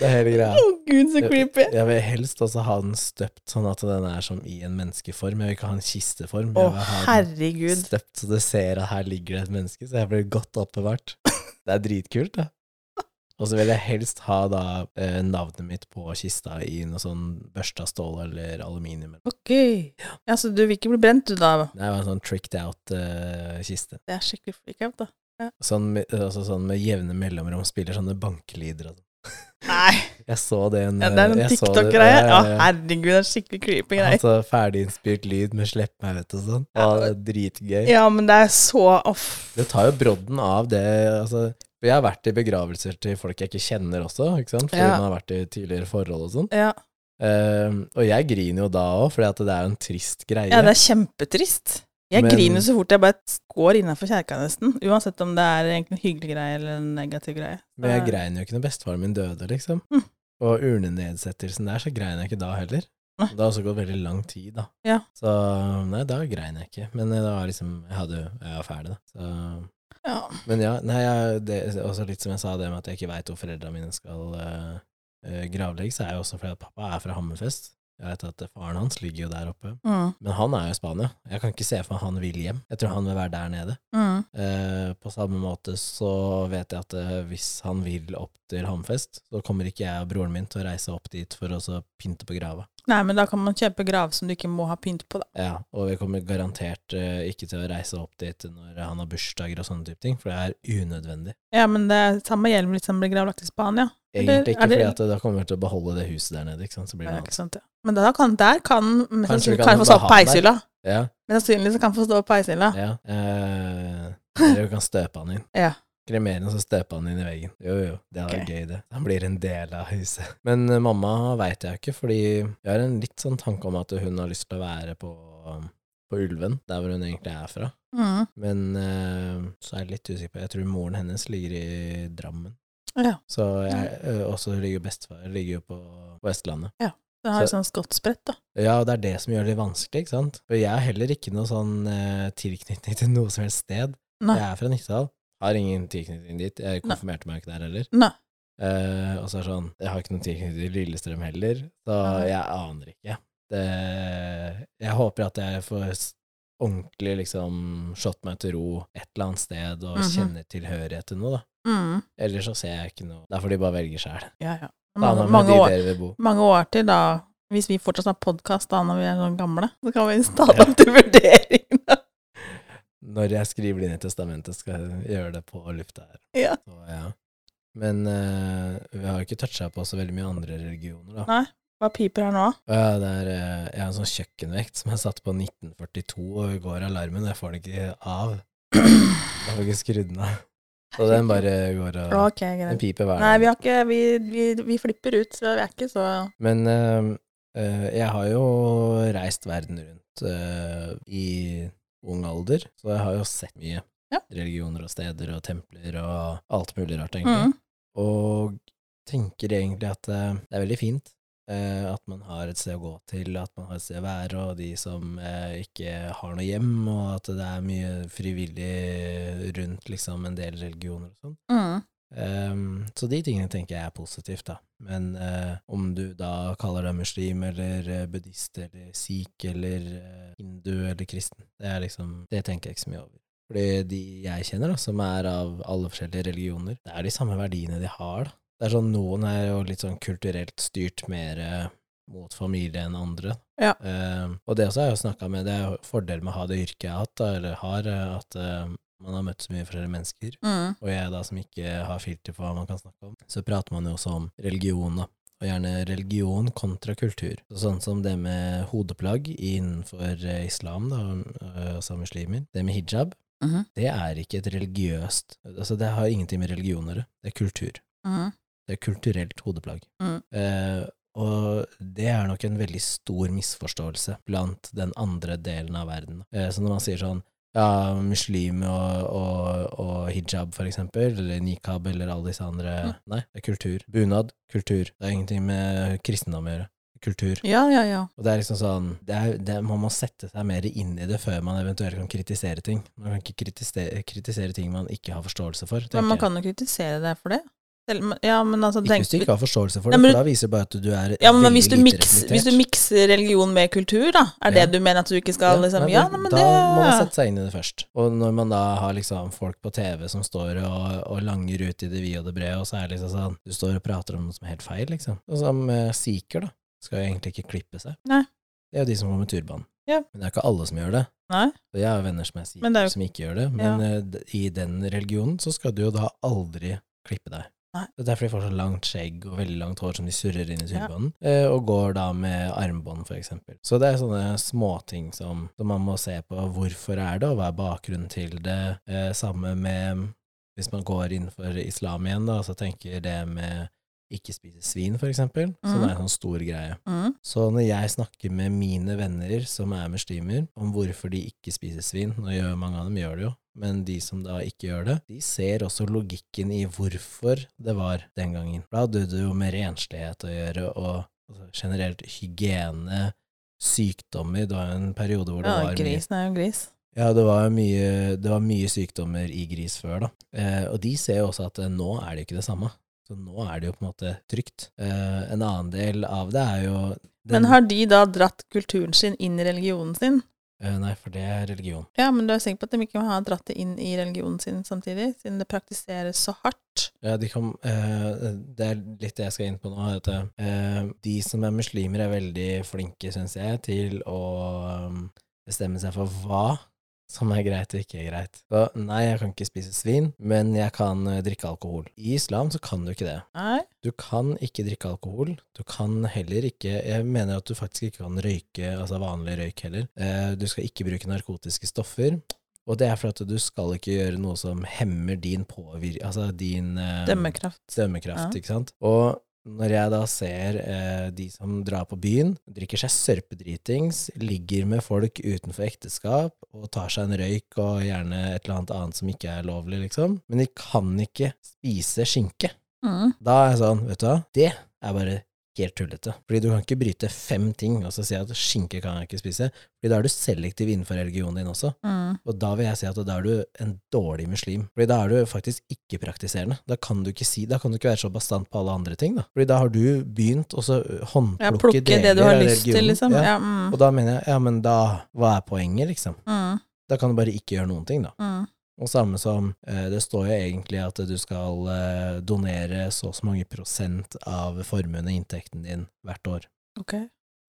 Speaker 1: Det er hele
Speaker 2: Å
Speaker 1: greia.
Speaker 2: gud, så creepy.
Speaker 1: Jeg vil helst også ha den støpt sånn at den er som i en menneskeform. Jeg vil ikke ha en kisteform.
Speaker 2: Å,
Speaker 1: Jeg vil ha den
Speaker 2: herregud.
Speaker 1: støpt så du ser at her ligger det et menneske, så jeg blir godt oppbevart. Det er dritkult, da. Og så vil jeg helst ha da eh, navnet mitt på kista i noe sånn børsta stål eller aluminium.
Speaker 2: Ok. Ja, så du vil ikke bli brent, du da?
Speaker 1: Det var en sånn tricked out-kiste.
Speaker 2: Det er skikkelig freak out, da.
Speaker 1: sånn, med- altså sånn med jevne mellomrom spiller sånne bankelyder og sånn.
Speaker 2: Nei,
Speaker 1: Jeg så det en
Speaker 2: ja, det er en
Speaker 1: jeg så det-
Speaker 2: TikTok-greie.
Speaker 1: ja,
Speaker 2: Ja,
Speaker 1: ja, ja.
Speaker 2: herregud, det er skikkelig creepy greie.
Speaker 1: Altså ferdiginnspilt lyd med 'slipp meg ut' og sånn. Ja, det er dritgøy.
Speaker 2: Ja, men det er så off.
Speaker 1: Det tar jo brodden av det altså, for Jeg har vært i begravelser til folk jeg ikke kjenner også, ikke sant? fordi
Speaker 2: Ja.
Speaker 1: man har vært i tidligere forhold og sånn.
Speaker 2: Ja.
Speaker 1: Ehm, og jeg griner jo da òg, for det er jo en trist greie.
Speaker 2: ja, det er kjempetrist. Jeg
Speaker 1: Men-
Speaker 2: griner så fort jeg bare går innafor kjerka, nesten. Uansett om det er egentlig en hyggelig greie eller en negativ greie.
Speaker 1: Men jeg grein jo ikke når bestefaren min døde, liksom.
Speaker 2: Eh. Mm.
Speaker 1: Og urnenedsettelsen der, så grein jeg ikke da heller.
Speaker 2: Nei.
Speaker 1: Det har også gått veldig lang tid, da.
Speaker 2: Ja.
Speaker 1: Så nei, da grein jeg ikke. Men eh, det var liksom Jeg hadde jo Jeg var ferdig, da. Så,
Speaker 2: Ja.
Speaker 1: men ja, nei, jeg, det også litt som jeg sa, det med at jeg ikke veit hvor foreldra mine skal eh, eh, gravlegges, er jo også fordi at pappa er fra Hammerfest. Jeg vet at faren hans ligger jo der oppe.
Speaker 2: Mm.
Speaker 1: Men han er jo i Spania. Jeg kan ikke se for meg han vil hjem. Jeg tror han vil være der nede.
Speaker 2: Mm.
Speaker 1: Eh, på samme måte så vet jeg at eh, hvis han vil opp til Hammerfest, så kommer ikke jeg og broren min til å reise opp dit for å så pynte på grava.
Speaker 2: Nei, men da kan man kjøpe grav som du ikke må ha pynt på, da.
Speaker 1: Ja, og vi kommer garantert eh, ikke til å reise opp dit når han har bursdager og sånne type ting, for det er unødvendig.
Speaker 2: Ja, men det er samme gjelder hvis den blir gravlagt i Spania. Eller
Speaker 1: Egentlig
Speaker 2: er
Speaker 1: ikke,
Speaker 2: det-
Speaker 1: fordi at da kommer vi til å beholde det huset der nede, ikke sant, så blir
Speaker 2: Ja,
Speaker 1: det
Speaker 2: ikke
Speaker 1: annet.
Speaker 2: sant, ja. Men da kan, der kan mest
Speaker 1: Kanskje vi
Speaker 2: sannsynlig
Speaker 1: kan
Speaker 2: kan få
Speaker 1: ha
Speaker 2: stå på
Speaker 1: han der?
Speaker 2: peishylla.
Speaker 1: Ja,
Speaker 2: Men sannsynlig så kan han få stå på peishylla.
Speaker 1: ja. Eh, eller vi kan støpe han inn.
Speaker 2: Ja.
Speaker 1: Kremere han, så støpe han inn i veggen. Jo, jo, det hadde vært
Speaker 2: Ok.
Speaker 1: gøy, det. Han blir en del av huset. Men eh, mamma veit jeg jo ikke, fordi jeg har en litt sånn tanke om at hun har lyst til å være på, um, på Ulven, der hvor hun egentlig er fra.
Speaker 2: Mm.
Speaker 1: Men eh, så er jeg litt usikker på Jeg tror moren hennes ligger i Drammen.
Speaker 2: Ja. Mm.
Speaker 1: Så jeg, eh, også ligger jo bestefar ligger jo på, på Vestlandet.
Speaker 2: Den har jo
Speaker 1: Så-
Speaker 2: sånn skottsbrett, da.
Speaker 1: Ja, og det er det som gjør det litt vanskelig, ikke sant? For jeg har heller ikke noe sånn eh, tilknytning til noe som helst sted.
Speaker 2: Nei.
Speaker 1: Jeg er fra Nittedal. Har ingen tilknytning dit. Jeg konfirmerte meg jo ikke der heller.
Speaker 2: Nei.
Speaker 1: Eh, og så er det sånn Jeg har ikke noen tilknytning til Lillestrøm heller, så
Speaker 2: Nei.
Speaker 1: jeg aner ikke. Det, jeg håper at jeg får s- ordentlig liksom slått meg til ro et eller annet sted og
Speaker 2: Mhm.
Speaker 1: kjenner tilhørighet til noe, da.
Speaker 2: Mm.
Speaker 1: Ellers så ser jeg ikke noe. Det er fordi de bare velger sjæl.
Speaker 2: Ja, ja.
Speaker 1: Ta
Speaker 2: Mange,
Speaker 1: med
Speaker 2: mange,
Speaker 1: de
Speaker 2: år,
Speaker 1: dere vil bo.
Speaker 2: mange år til, da. Hvis vi fortsatt har podkast da når vi er sånn gamle, så kan vi stadig opp til vurderingene.
Speaker 1: Når jeg skriver det inn i testamentet, skal jeg gjøre det på lufta her.
Speaker 2: Ja.
Speaker 1: Så, ja. Men eh, vi har jo ikke toucha på så veldig mye andre religioner, da.
Speaker 2: Nei. Hva piper her nå?
Speaker 1: Ja, det er, eh, jeg har en sånn kjøkkenvekt som jeg satte på 1942, og i går alarmen, jeg får den ikke av. Jeg får ikke skrudd den av. Så den bare går og
Speaker 2: Ok,
Speaker 1: Den
Speaker 2: greit.
Speaker 1: piper hver
Speaker 2: Nei, vi
Speaker 1: dag.
Speaker 2: har ikke Vi, vi, vi flipper ut, så vi er ikke så
Speaker 1: Men eh, eh, jeg har jo reist verden rundt eh, i ung alder, så jeg har jo sett mye.
Speaker 2: Ja.
Speaker 1: Religioner og steder og templer og alt mulig rart, egentlig.
Speaker 2: mm.
Speaker 1: og tenker egentlig at eh, det er veldig fint eh, at man har et sted å gå til, at man har et sted å være, og de som eh, ikke har noe hjem, og at det er mye frivillig rundt liksom en del religioner og sånn.
Speaker 2: Mm.
Speaker 1: Ehm, så de tingene tenker jeg er positivt, da. Men eh, om du da kaller deg muslim eller eh, buddhist eller sikh eller eh, hindu eller kristen, det er liksom Det tenker jeg ikke så mye over. Fordi de jeg kjenner, da, som er av alle forskjellige religioner, det er de samme verdiene de har, da. Det er sånn noen er jo litt sånn kulturelt styrt mer eh, mot familie enn andre.
Speaker 2: Ja.
Speaker 1: Ehm, og det også har jeg jo snakka med, det er jo fordel med å ha det yrket jeg har hatt, da, eller har, eh, at eh, man har møtt så mye forskjellige mennesker
Speaker 2: Mm.
Speaker 1: og jeg da som ikke har filter på hva man kan snakke om, så prater man jo også om religion, da. Og gjerne religion kontra kultur. Så Sånn som det med hodeplagg innenfor eh, islam, da, og- og- altså eh, muslimer. Det med hijab.
Speaker 3: Mhm.
Speaker 1: det er ikke et religiøst Altså, det har ingenting med religion å gjøre. Det er kultur.
Speaker 3: Mhm.
Speaker 1: Det er kulturelt hodeplagg.
Speaker 3: Mm.
Speaker 1: Eh, og det er nok en veldig stor misforståelse blant den andre delen av verden. Eh, så når man sier sånn ja, muslim og, og, og hijab, for eksempel, eller nikab, eller alle disse andre
Speaker 3: Mm.
Speaker 1: Nei, det er kultur. Bunad, kultur. Det har ingenting med kristendom å gjøre. Kultur.
Speaker 3: Ja, ja, ja.
Speaker 1: Og det er liksom sånn det er, det, Man må sette seg mer inn i det før man eventuelt kan kritisere ting. Man kan ikke kritisere, kritisere ting man ikke har forståelse for.
Speaker 3: Men man
Speaker 1: tenker jeg.
Speaker 3: kan jo kritisere deg for det. Selv, om- ja, men altså,
Speaker 1: Ikke
Speaker 3: tenk,
Speaker 1: hvis du ikke har forståelse for
Speaker 3: Nei,
Speaker 1: det,
Speaker 3: men
Speaker 1: for da viser det bare at du er
Speaker 3: ja, men
Speaker 1: veldig
Speaker 3: hvis du,
Speaker 1: lite
Speaker 3: miks, hvis du mikser religion med kultur, da, er det
Speaker 1: Ja.
Speaker 3: du mener at du ikke skal liksom, Ja, nei, men
Speaker 1: da
Speaker 3: det
Speaker 1: må man sette seg inn i det først. Og når man da har liksom folk på TV som står og, og langer ut i det vide og det brede, og så er det liksom sånn Du står og prater om noe som er helt feil, liksom. Og som eh, sikher, da, skal jo egentlig ikke klippe seg.
Speaker 3: Nei.
Speaker 1: Det er jo de som går med turban.
Speaker 3: Ja.
Speaker 1: Men det er ikke alle som gjør det.
Speaker 3: Nei.
Speaker 1: Og jeg har venner som er sikher,
Speaker 3: Men det er jo-
Speaker 1: som ikke gjør det. Men eh, d- i den religionen så skal du jo da aldri klippe deg.
Speaker 3: Nei.
Speaker 1: Det er derfor de får så langt skjegg og veldig langt hår som de surrer inn i turbanen, eh, og går da med armbånd, for eksempel. Så det er sånne småting som, som man må se på. Hvorfor er det, og hva er bakgrunnen til det? Eh, samme med hvis man går innenfor islam igjen, da, så tenker det med ikke spise svin, for eksempel, som
Speaker 3: Mhm.
Speaker 1: er en sånn stor greie.
Speaker 3: mm,
Speaker 1: Så når jeg snakker med mine venner som er muslimer, om hvorfor de ikke spiser svin, og gjør, mange av dem gjør det jo, men de som da ikke gjør det, de ser også logikken i hvorfor det var den gangen. Da hadde det jo med renslighet å gjøre, og altså, generelt hygiene, sykdommer. Det var jo en periode hvor det
Speaker 3: ja,
Speaker 1: var mye
Speaker 3: Grisen er jo gris.
Speaker 1: ja, det var, mye, det var mye sykdommer i gris før, da. Eh, og de ser jo også at eh, nå er det jo ikke det samme. Så nå er det jo på en måte trygt. Eh, en annen del av det er jo den-
Speaker 3: Men har de da dratt kulturen sin inn i religionen sin?
Speaker 1: eh, Nei, for det er religion.
Speaker 3: Ja, men du er sikker på at de ikke har dratt det inn i religionen sin samtidig, siden det praktiseres så hardt?
Speaker 1: Ja, de kan, eh, det er litt det jeg skal inn på nå. At, eh, de som er muslimer, er veldig flinke, syns jeg, til å um, bestemme seg for hva som er greit og ikke er greit. Så nei, jeg kan ikke spise svin, men jeg kan eh, drikke alkohol. I islam så kan du ikke det.
Speaker 3: Nei.
Speaker 1: Du kan ikke drikke alkohol. Du kan heller ikke Jeg mener at du faktisk ikke kan røyke, altså vanlig røyk heller. Eh, Du skal ikke bruke narkotiske stoffer. Og det er for at du skal ikke gjøre noe som hemmer din påvir... Altså din eh,
Speaker 3: Dømmekraft.
Speaker 1: dømmekraft,
Speaker 3: Ja.
Speaker 1: ikke sant. Og når jeg da ser eh, de som drar på byen, drikker seg sørpedritings, ligger med folk utenfor ekteskap og tar seg en røyk og gjerne et eller annet annet som ikke er lovlig, liksom, men de kan ikke spise skinke.
Speaker 3: Mm.
Speaker 1: Da er jeg sånn, vet du hva, det er bare helt tullete. Fordi du kan ikke bryte fem ting og så si at skinke kan jeg ikke spise. Fordi da er du selektiv innenfor religionen din også.
Speaker 3: Mm.
Speaker 1: Og da vil jeg si at da er du en dårlig muslim. Fordi da er du faktisk ikke-praktiserende. Da kan du ikke si, da kan du ikke være så bastant på alle andre ting, da. Fordi da har du begynt å så
Speaker 3: Ja,
Speaker 1: håndplukke
Speaker 3: plukke det du har lyst til, liksom. Ja,
Speaker 1: Ja.
Speaker 3: mm.
Speaker 1: Og da mener jeg, ja, men da, hva er poenget, liksom?
Speaker 3: Mm.
Speaker 1: Da kan du bare ikke gjøre noen ting, da.
Speaker 3: Mm.
Speaker 1: Og samme som eh, det står jo egentlig at du skal eh, donere så og så mange prosent av formuen og inntekten din hvert år.
Speaker 3: Ok.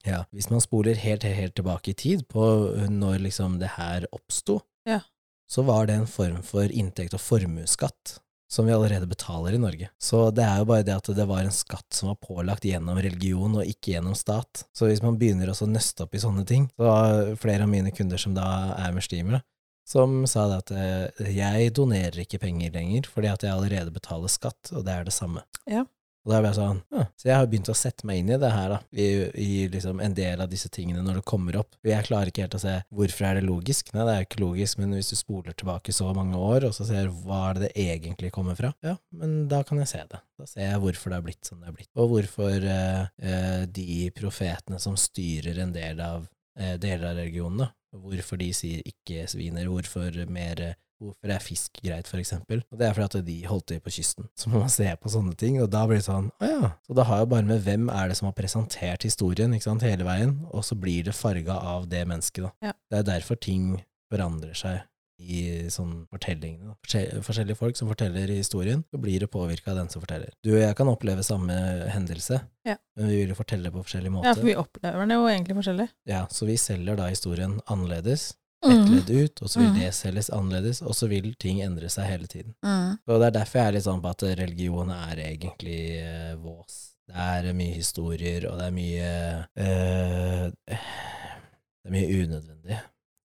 Speaker 1: Ja. Hvis man spoler helt, helt, helt tilbake i tid på eh, når liksom det her oppsto,
Speaker 3: Ja.
Speaker 1: så var det en form for inntekt og formuesskatt som vi allerede betaler i Norge. Så det er jo bare det at det var en skatt som var pålagt gjennom religion og ikke gjennom stat. Så hvis man begynner også å nøste opp i sånne ting, så har flere av mine kunder som da er muslimer, da, som sa det at eh, jeg donerer ikke penger lenger, fordi at jeg allerede betaler skatt, og det er det samme.
Speaker 3: Ja.
Speaker 1: Og da ble jeg sånn, «Hm». Så jeg har begynt å sette meg inn i det her, da, i, i liksom en del av disse tingene når det kommer opp. For jeg klarer ikke helt å se hvorfor er det logisk. Nei, det er jo ikke logisk, men hvis du spoler tilbake så mange år, og så ser hva er det det egentlig kommer fra, ja, men da kan jeg se det. Da ser jeg hvorfor det har blitt som det har blitt, og hvorfor eh, eh, de profetene som styrer en del av eh, deler av religionen, da. Hvorfor de sier ikke sviner, hvorfor mer eh, Hvorfor er fisk greit, for eksempel? Og det er fordi at de holdt til på kysten. Så må man se på sånne ting, og da blir det sånn, å ja. Så det har jo bare med hvem er det som har presentert historien, ikke sant, hele veien, og så blir det farga av det mennesket, da.
Speaker 3: Ja.
Speaker 1: Det er derfor ting forandrer seg i sånn fortellingene. da. Forskjell- Forskjellige folk som forteller historien, så blir det påvirka av den som forteller. Du og jeg kan oppleve samme hendelse,
Speaker 3: Ja.
Speaker 1: men vi vil jo fortelle det på forskjellig måte.
Speaker 3: Ja, for vi opplever det jo egentlig forskjellig.
Speaker 1: Ja, så vi selger da historien annerledes,
Speaker 2: Mm. Mhm.
Speaker 1: ett ledd ut, og så vil
Speaker 3: Mm.
Speaker 1: det selges annerledes, og så vil ting endre seg hele tiden.
Speaker 3: Mm.
Speaker 1: Og det er derfor jeg er litt sånn på at religion er egentlig eh, vås. Det er mye historier, og det er mye eh, Det er mye unødvendig.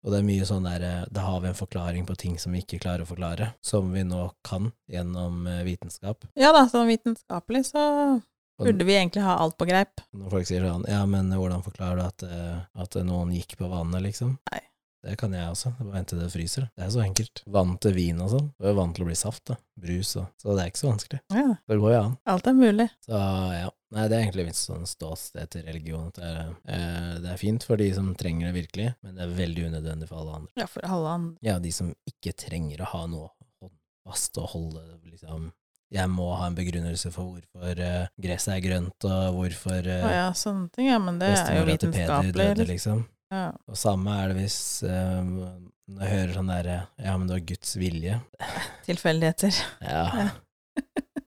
Speaker 1: Og det er mye sånn der eh, Da har vi en forklaring på ting som vi ikke klarer å forklare, som vi nå kan gjennom eh, vitenskap.
Speaker 2: Ja da, sånn vitenskapelig så burde vi egentlig ha alt på greip.
Speaker 1: Når folk sier sånn Ja, men hvordan forklarer du at, eh, at noen gikk på vannet, liksom?
Speaker 2: Nei.
Speaker 1: Det kan jeg også. Det er Bare vente til det fryser. Det er så enkelt. Vann til vin og sånn. Du er vant til å bli saft, da. Brus og Så det er ikke så vanskelig.
Speaker 2: Ja,
Speaker 1: Det går jo an.
Speaker 2: alt er mulig.
Speaker 1: Så ja. Nei, det er egentlig mitt sånn ståsted til religion. At det, er, eh, det er fint for de som trenger det virkelig, men det er veldig unødvendig for alle andre.
Speaker 2: Ja, for alle andre.
Speaker 1: Ja, de som ikke trenger å ha noe håndfast og holde liksom Jeg må ha en begrunnelse for hvorfor eh, gresset er grønt, og hvorfor
Speaker 2: Å
Speaker 1: eh,
Speaker 2: ja, sånne ting, ja, men det er jo
Speaker 1: bestemora til Peder
Speaker 2: vitenskapelig.
Speaker 1: døde,
Speaker 2: liksom.
Speaker 1: liksom.
Speaker 2: Ja.
Speaker 1: Og samme er det hvis eh, når jeg hører sånn derre Ja, men det var Guds vilje.
Speaker 2: Tilfeldigheter.
Speaker 1: Ja.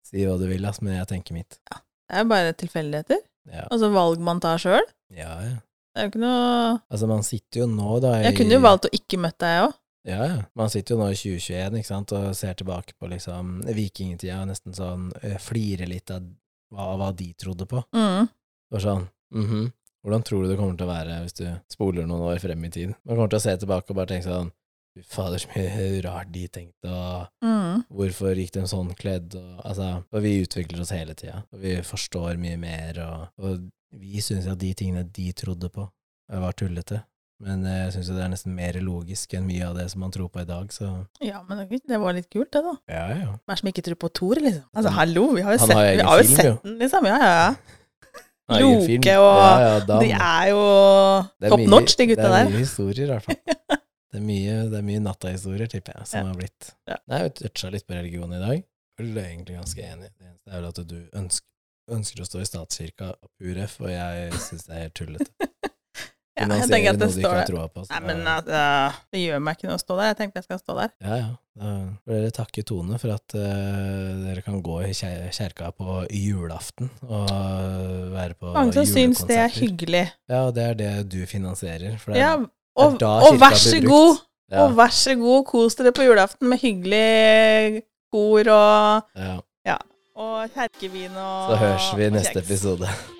Speaker 1: si hva du vil, ass, men jeg tenker mitt.
Speaker 2: Det er jo bare tilfeldigheter.
Speaker 1: Ja,
Speaker 2: Altså valg man tar sjøl.
Speaker 1: ja. ja.
Speaker 2: Det er jo ikke noe
Speaker 1: Altså, man sitter jo nå, da i-
Speaker 2: Jeg kunne jo valgt å ikke møtt deg òg.
Speaker 1: Ja, ja. Man sitter jo nå i 2021 ikke sant, og ser tilbake på liksom vikingtida og nesten sånn eh, flirer litt av hva, hva de trodde på.
Speaker 2: Mm.
Speaker 1: Og sånn, mhm, hvordan tror du det kommer til å være hvis du spoler noen år frem i tid? Man kommer til å se tilbake og bare tenke sånn, fy fader, så mye rart de tenkte, og
Speaker 2: Mm.
Speaker 1: hvorfor gikk de sånn kledd? Og, altså, og vi utvikler oss hele tida, og vi forstår mye mer, og, og vi syns at de tingene de trodde på, eh, var tullete. Men eh, jeg syns det er nesten mer logisk enn mye av det som man tror på i dag, så
Speaker 2: Ja, men det er ikke- det var litt kult, det, da.
Speaker 1: ja, ja.
Speaker 2: Hvem er det som ikke tror på Thor, liksom? Altså,
Speaker 1: Han-
Speaker 2: hallo, vi har jo
Speaker 1: han
Speaker 2: sett,
Speaker 1: har jo
Speaker 2: vi
Speaker 1: egen
Speaker 2: har jo
Speaker 1: film, jo.
Speaker 2: sett den, liksom. Ja, ja, ja.
Speaker 1: Egen film.
Speaker 2: Loke og-
Speaker 1: ja, ja, da,
Speaker 2: De er jo
Speaker 1: Det er
Speaker 2: top
Speaker 1: mye-
Speaker 2: notch, de gutta
Speaker 1: Det
Speaker 2: der.
Speaker 1: er mye historier, i hvert fall. Det er mye, det er mye nattahistorier, tipper jeg, som
Speaker 2: Ja.
Speaker 1: har blitt.
Speaker 2: Ja.
Speaker 1: Nei, vi toucha litt på religion i dag. Jeg er egentlig ganske enig. Det eneste er vel at du ønsker, ønsker å stå i statskirka av pur F, og jeg syns det er helt tullete.
Speaker 2: Ja, jeg
Speaker 1: Finansiere
Speaker 2: tenker at det
Speaker 1: noe du ikke
Speaker 2: står
Speaker 1: har
Speaker 2: der.
Speaker 1: troa på, så-
Speaker 2: Nei, men altså, det gjør meg ikke noe å stå der. Jeg tenkte jeg skal stå der.
Speaker 1: Ja, ja. Da får dere takke Tone for at eh, dere kan gå i kje- kjerka på julaften og være på
Speaker 2: Mange som syns det er
Speaker 1: julekonserter.
Speaker 2: hyggelig.
Speaker 1: Ja, og det er det du finansierer. For det er,
Speaker 2: Ja,
Speaker 1: er
Speaker 2: og,
Speaker 1: da
Speaker 2: og
Speaker 1: kirka
Speaker 2: vær så
Speaker 1: blir brukt.
Speaker 2: god,
Speaker 1: ja,
Speaker 2: og vær så god, kos dere på julaften med hyggelig kor og,
Speaker 1: ja.
Speaker 2: og kjerkevin og
Speaker 1: Så høres vi i
Speaker 2: og
Speaker 1: neste
Speaker 2: kjeks.
Speaker 1: episode.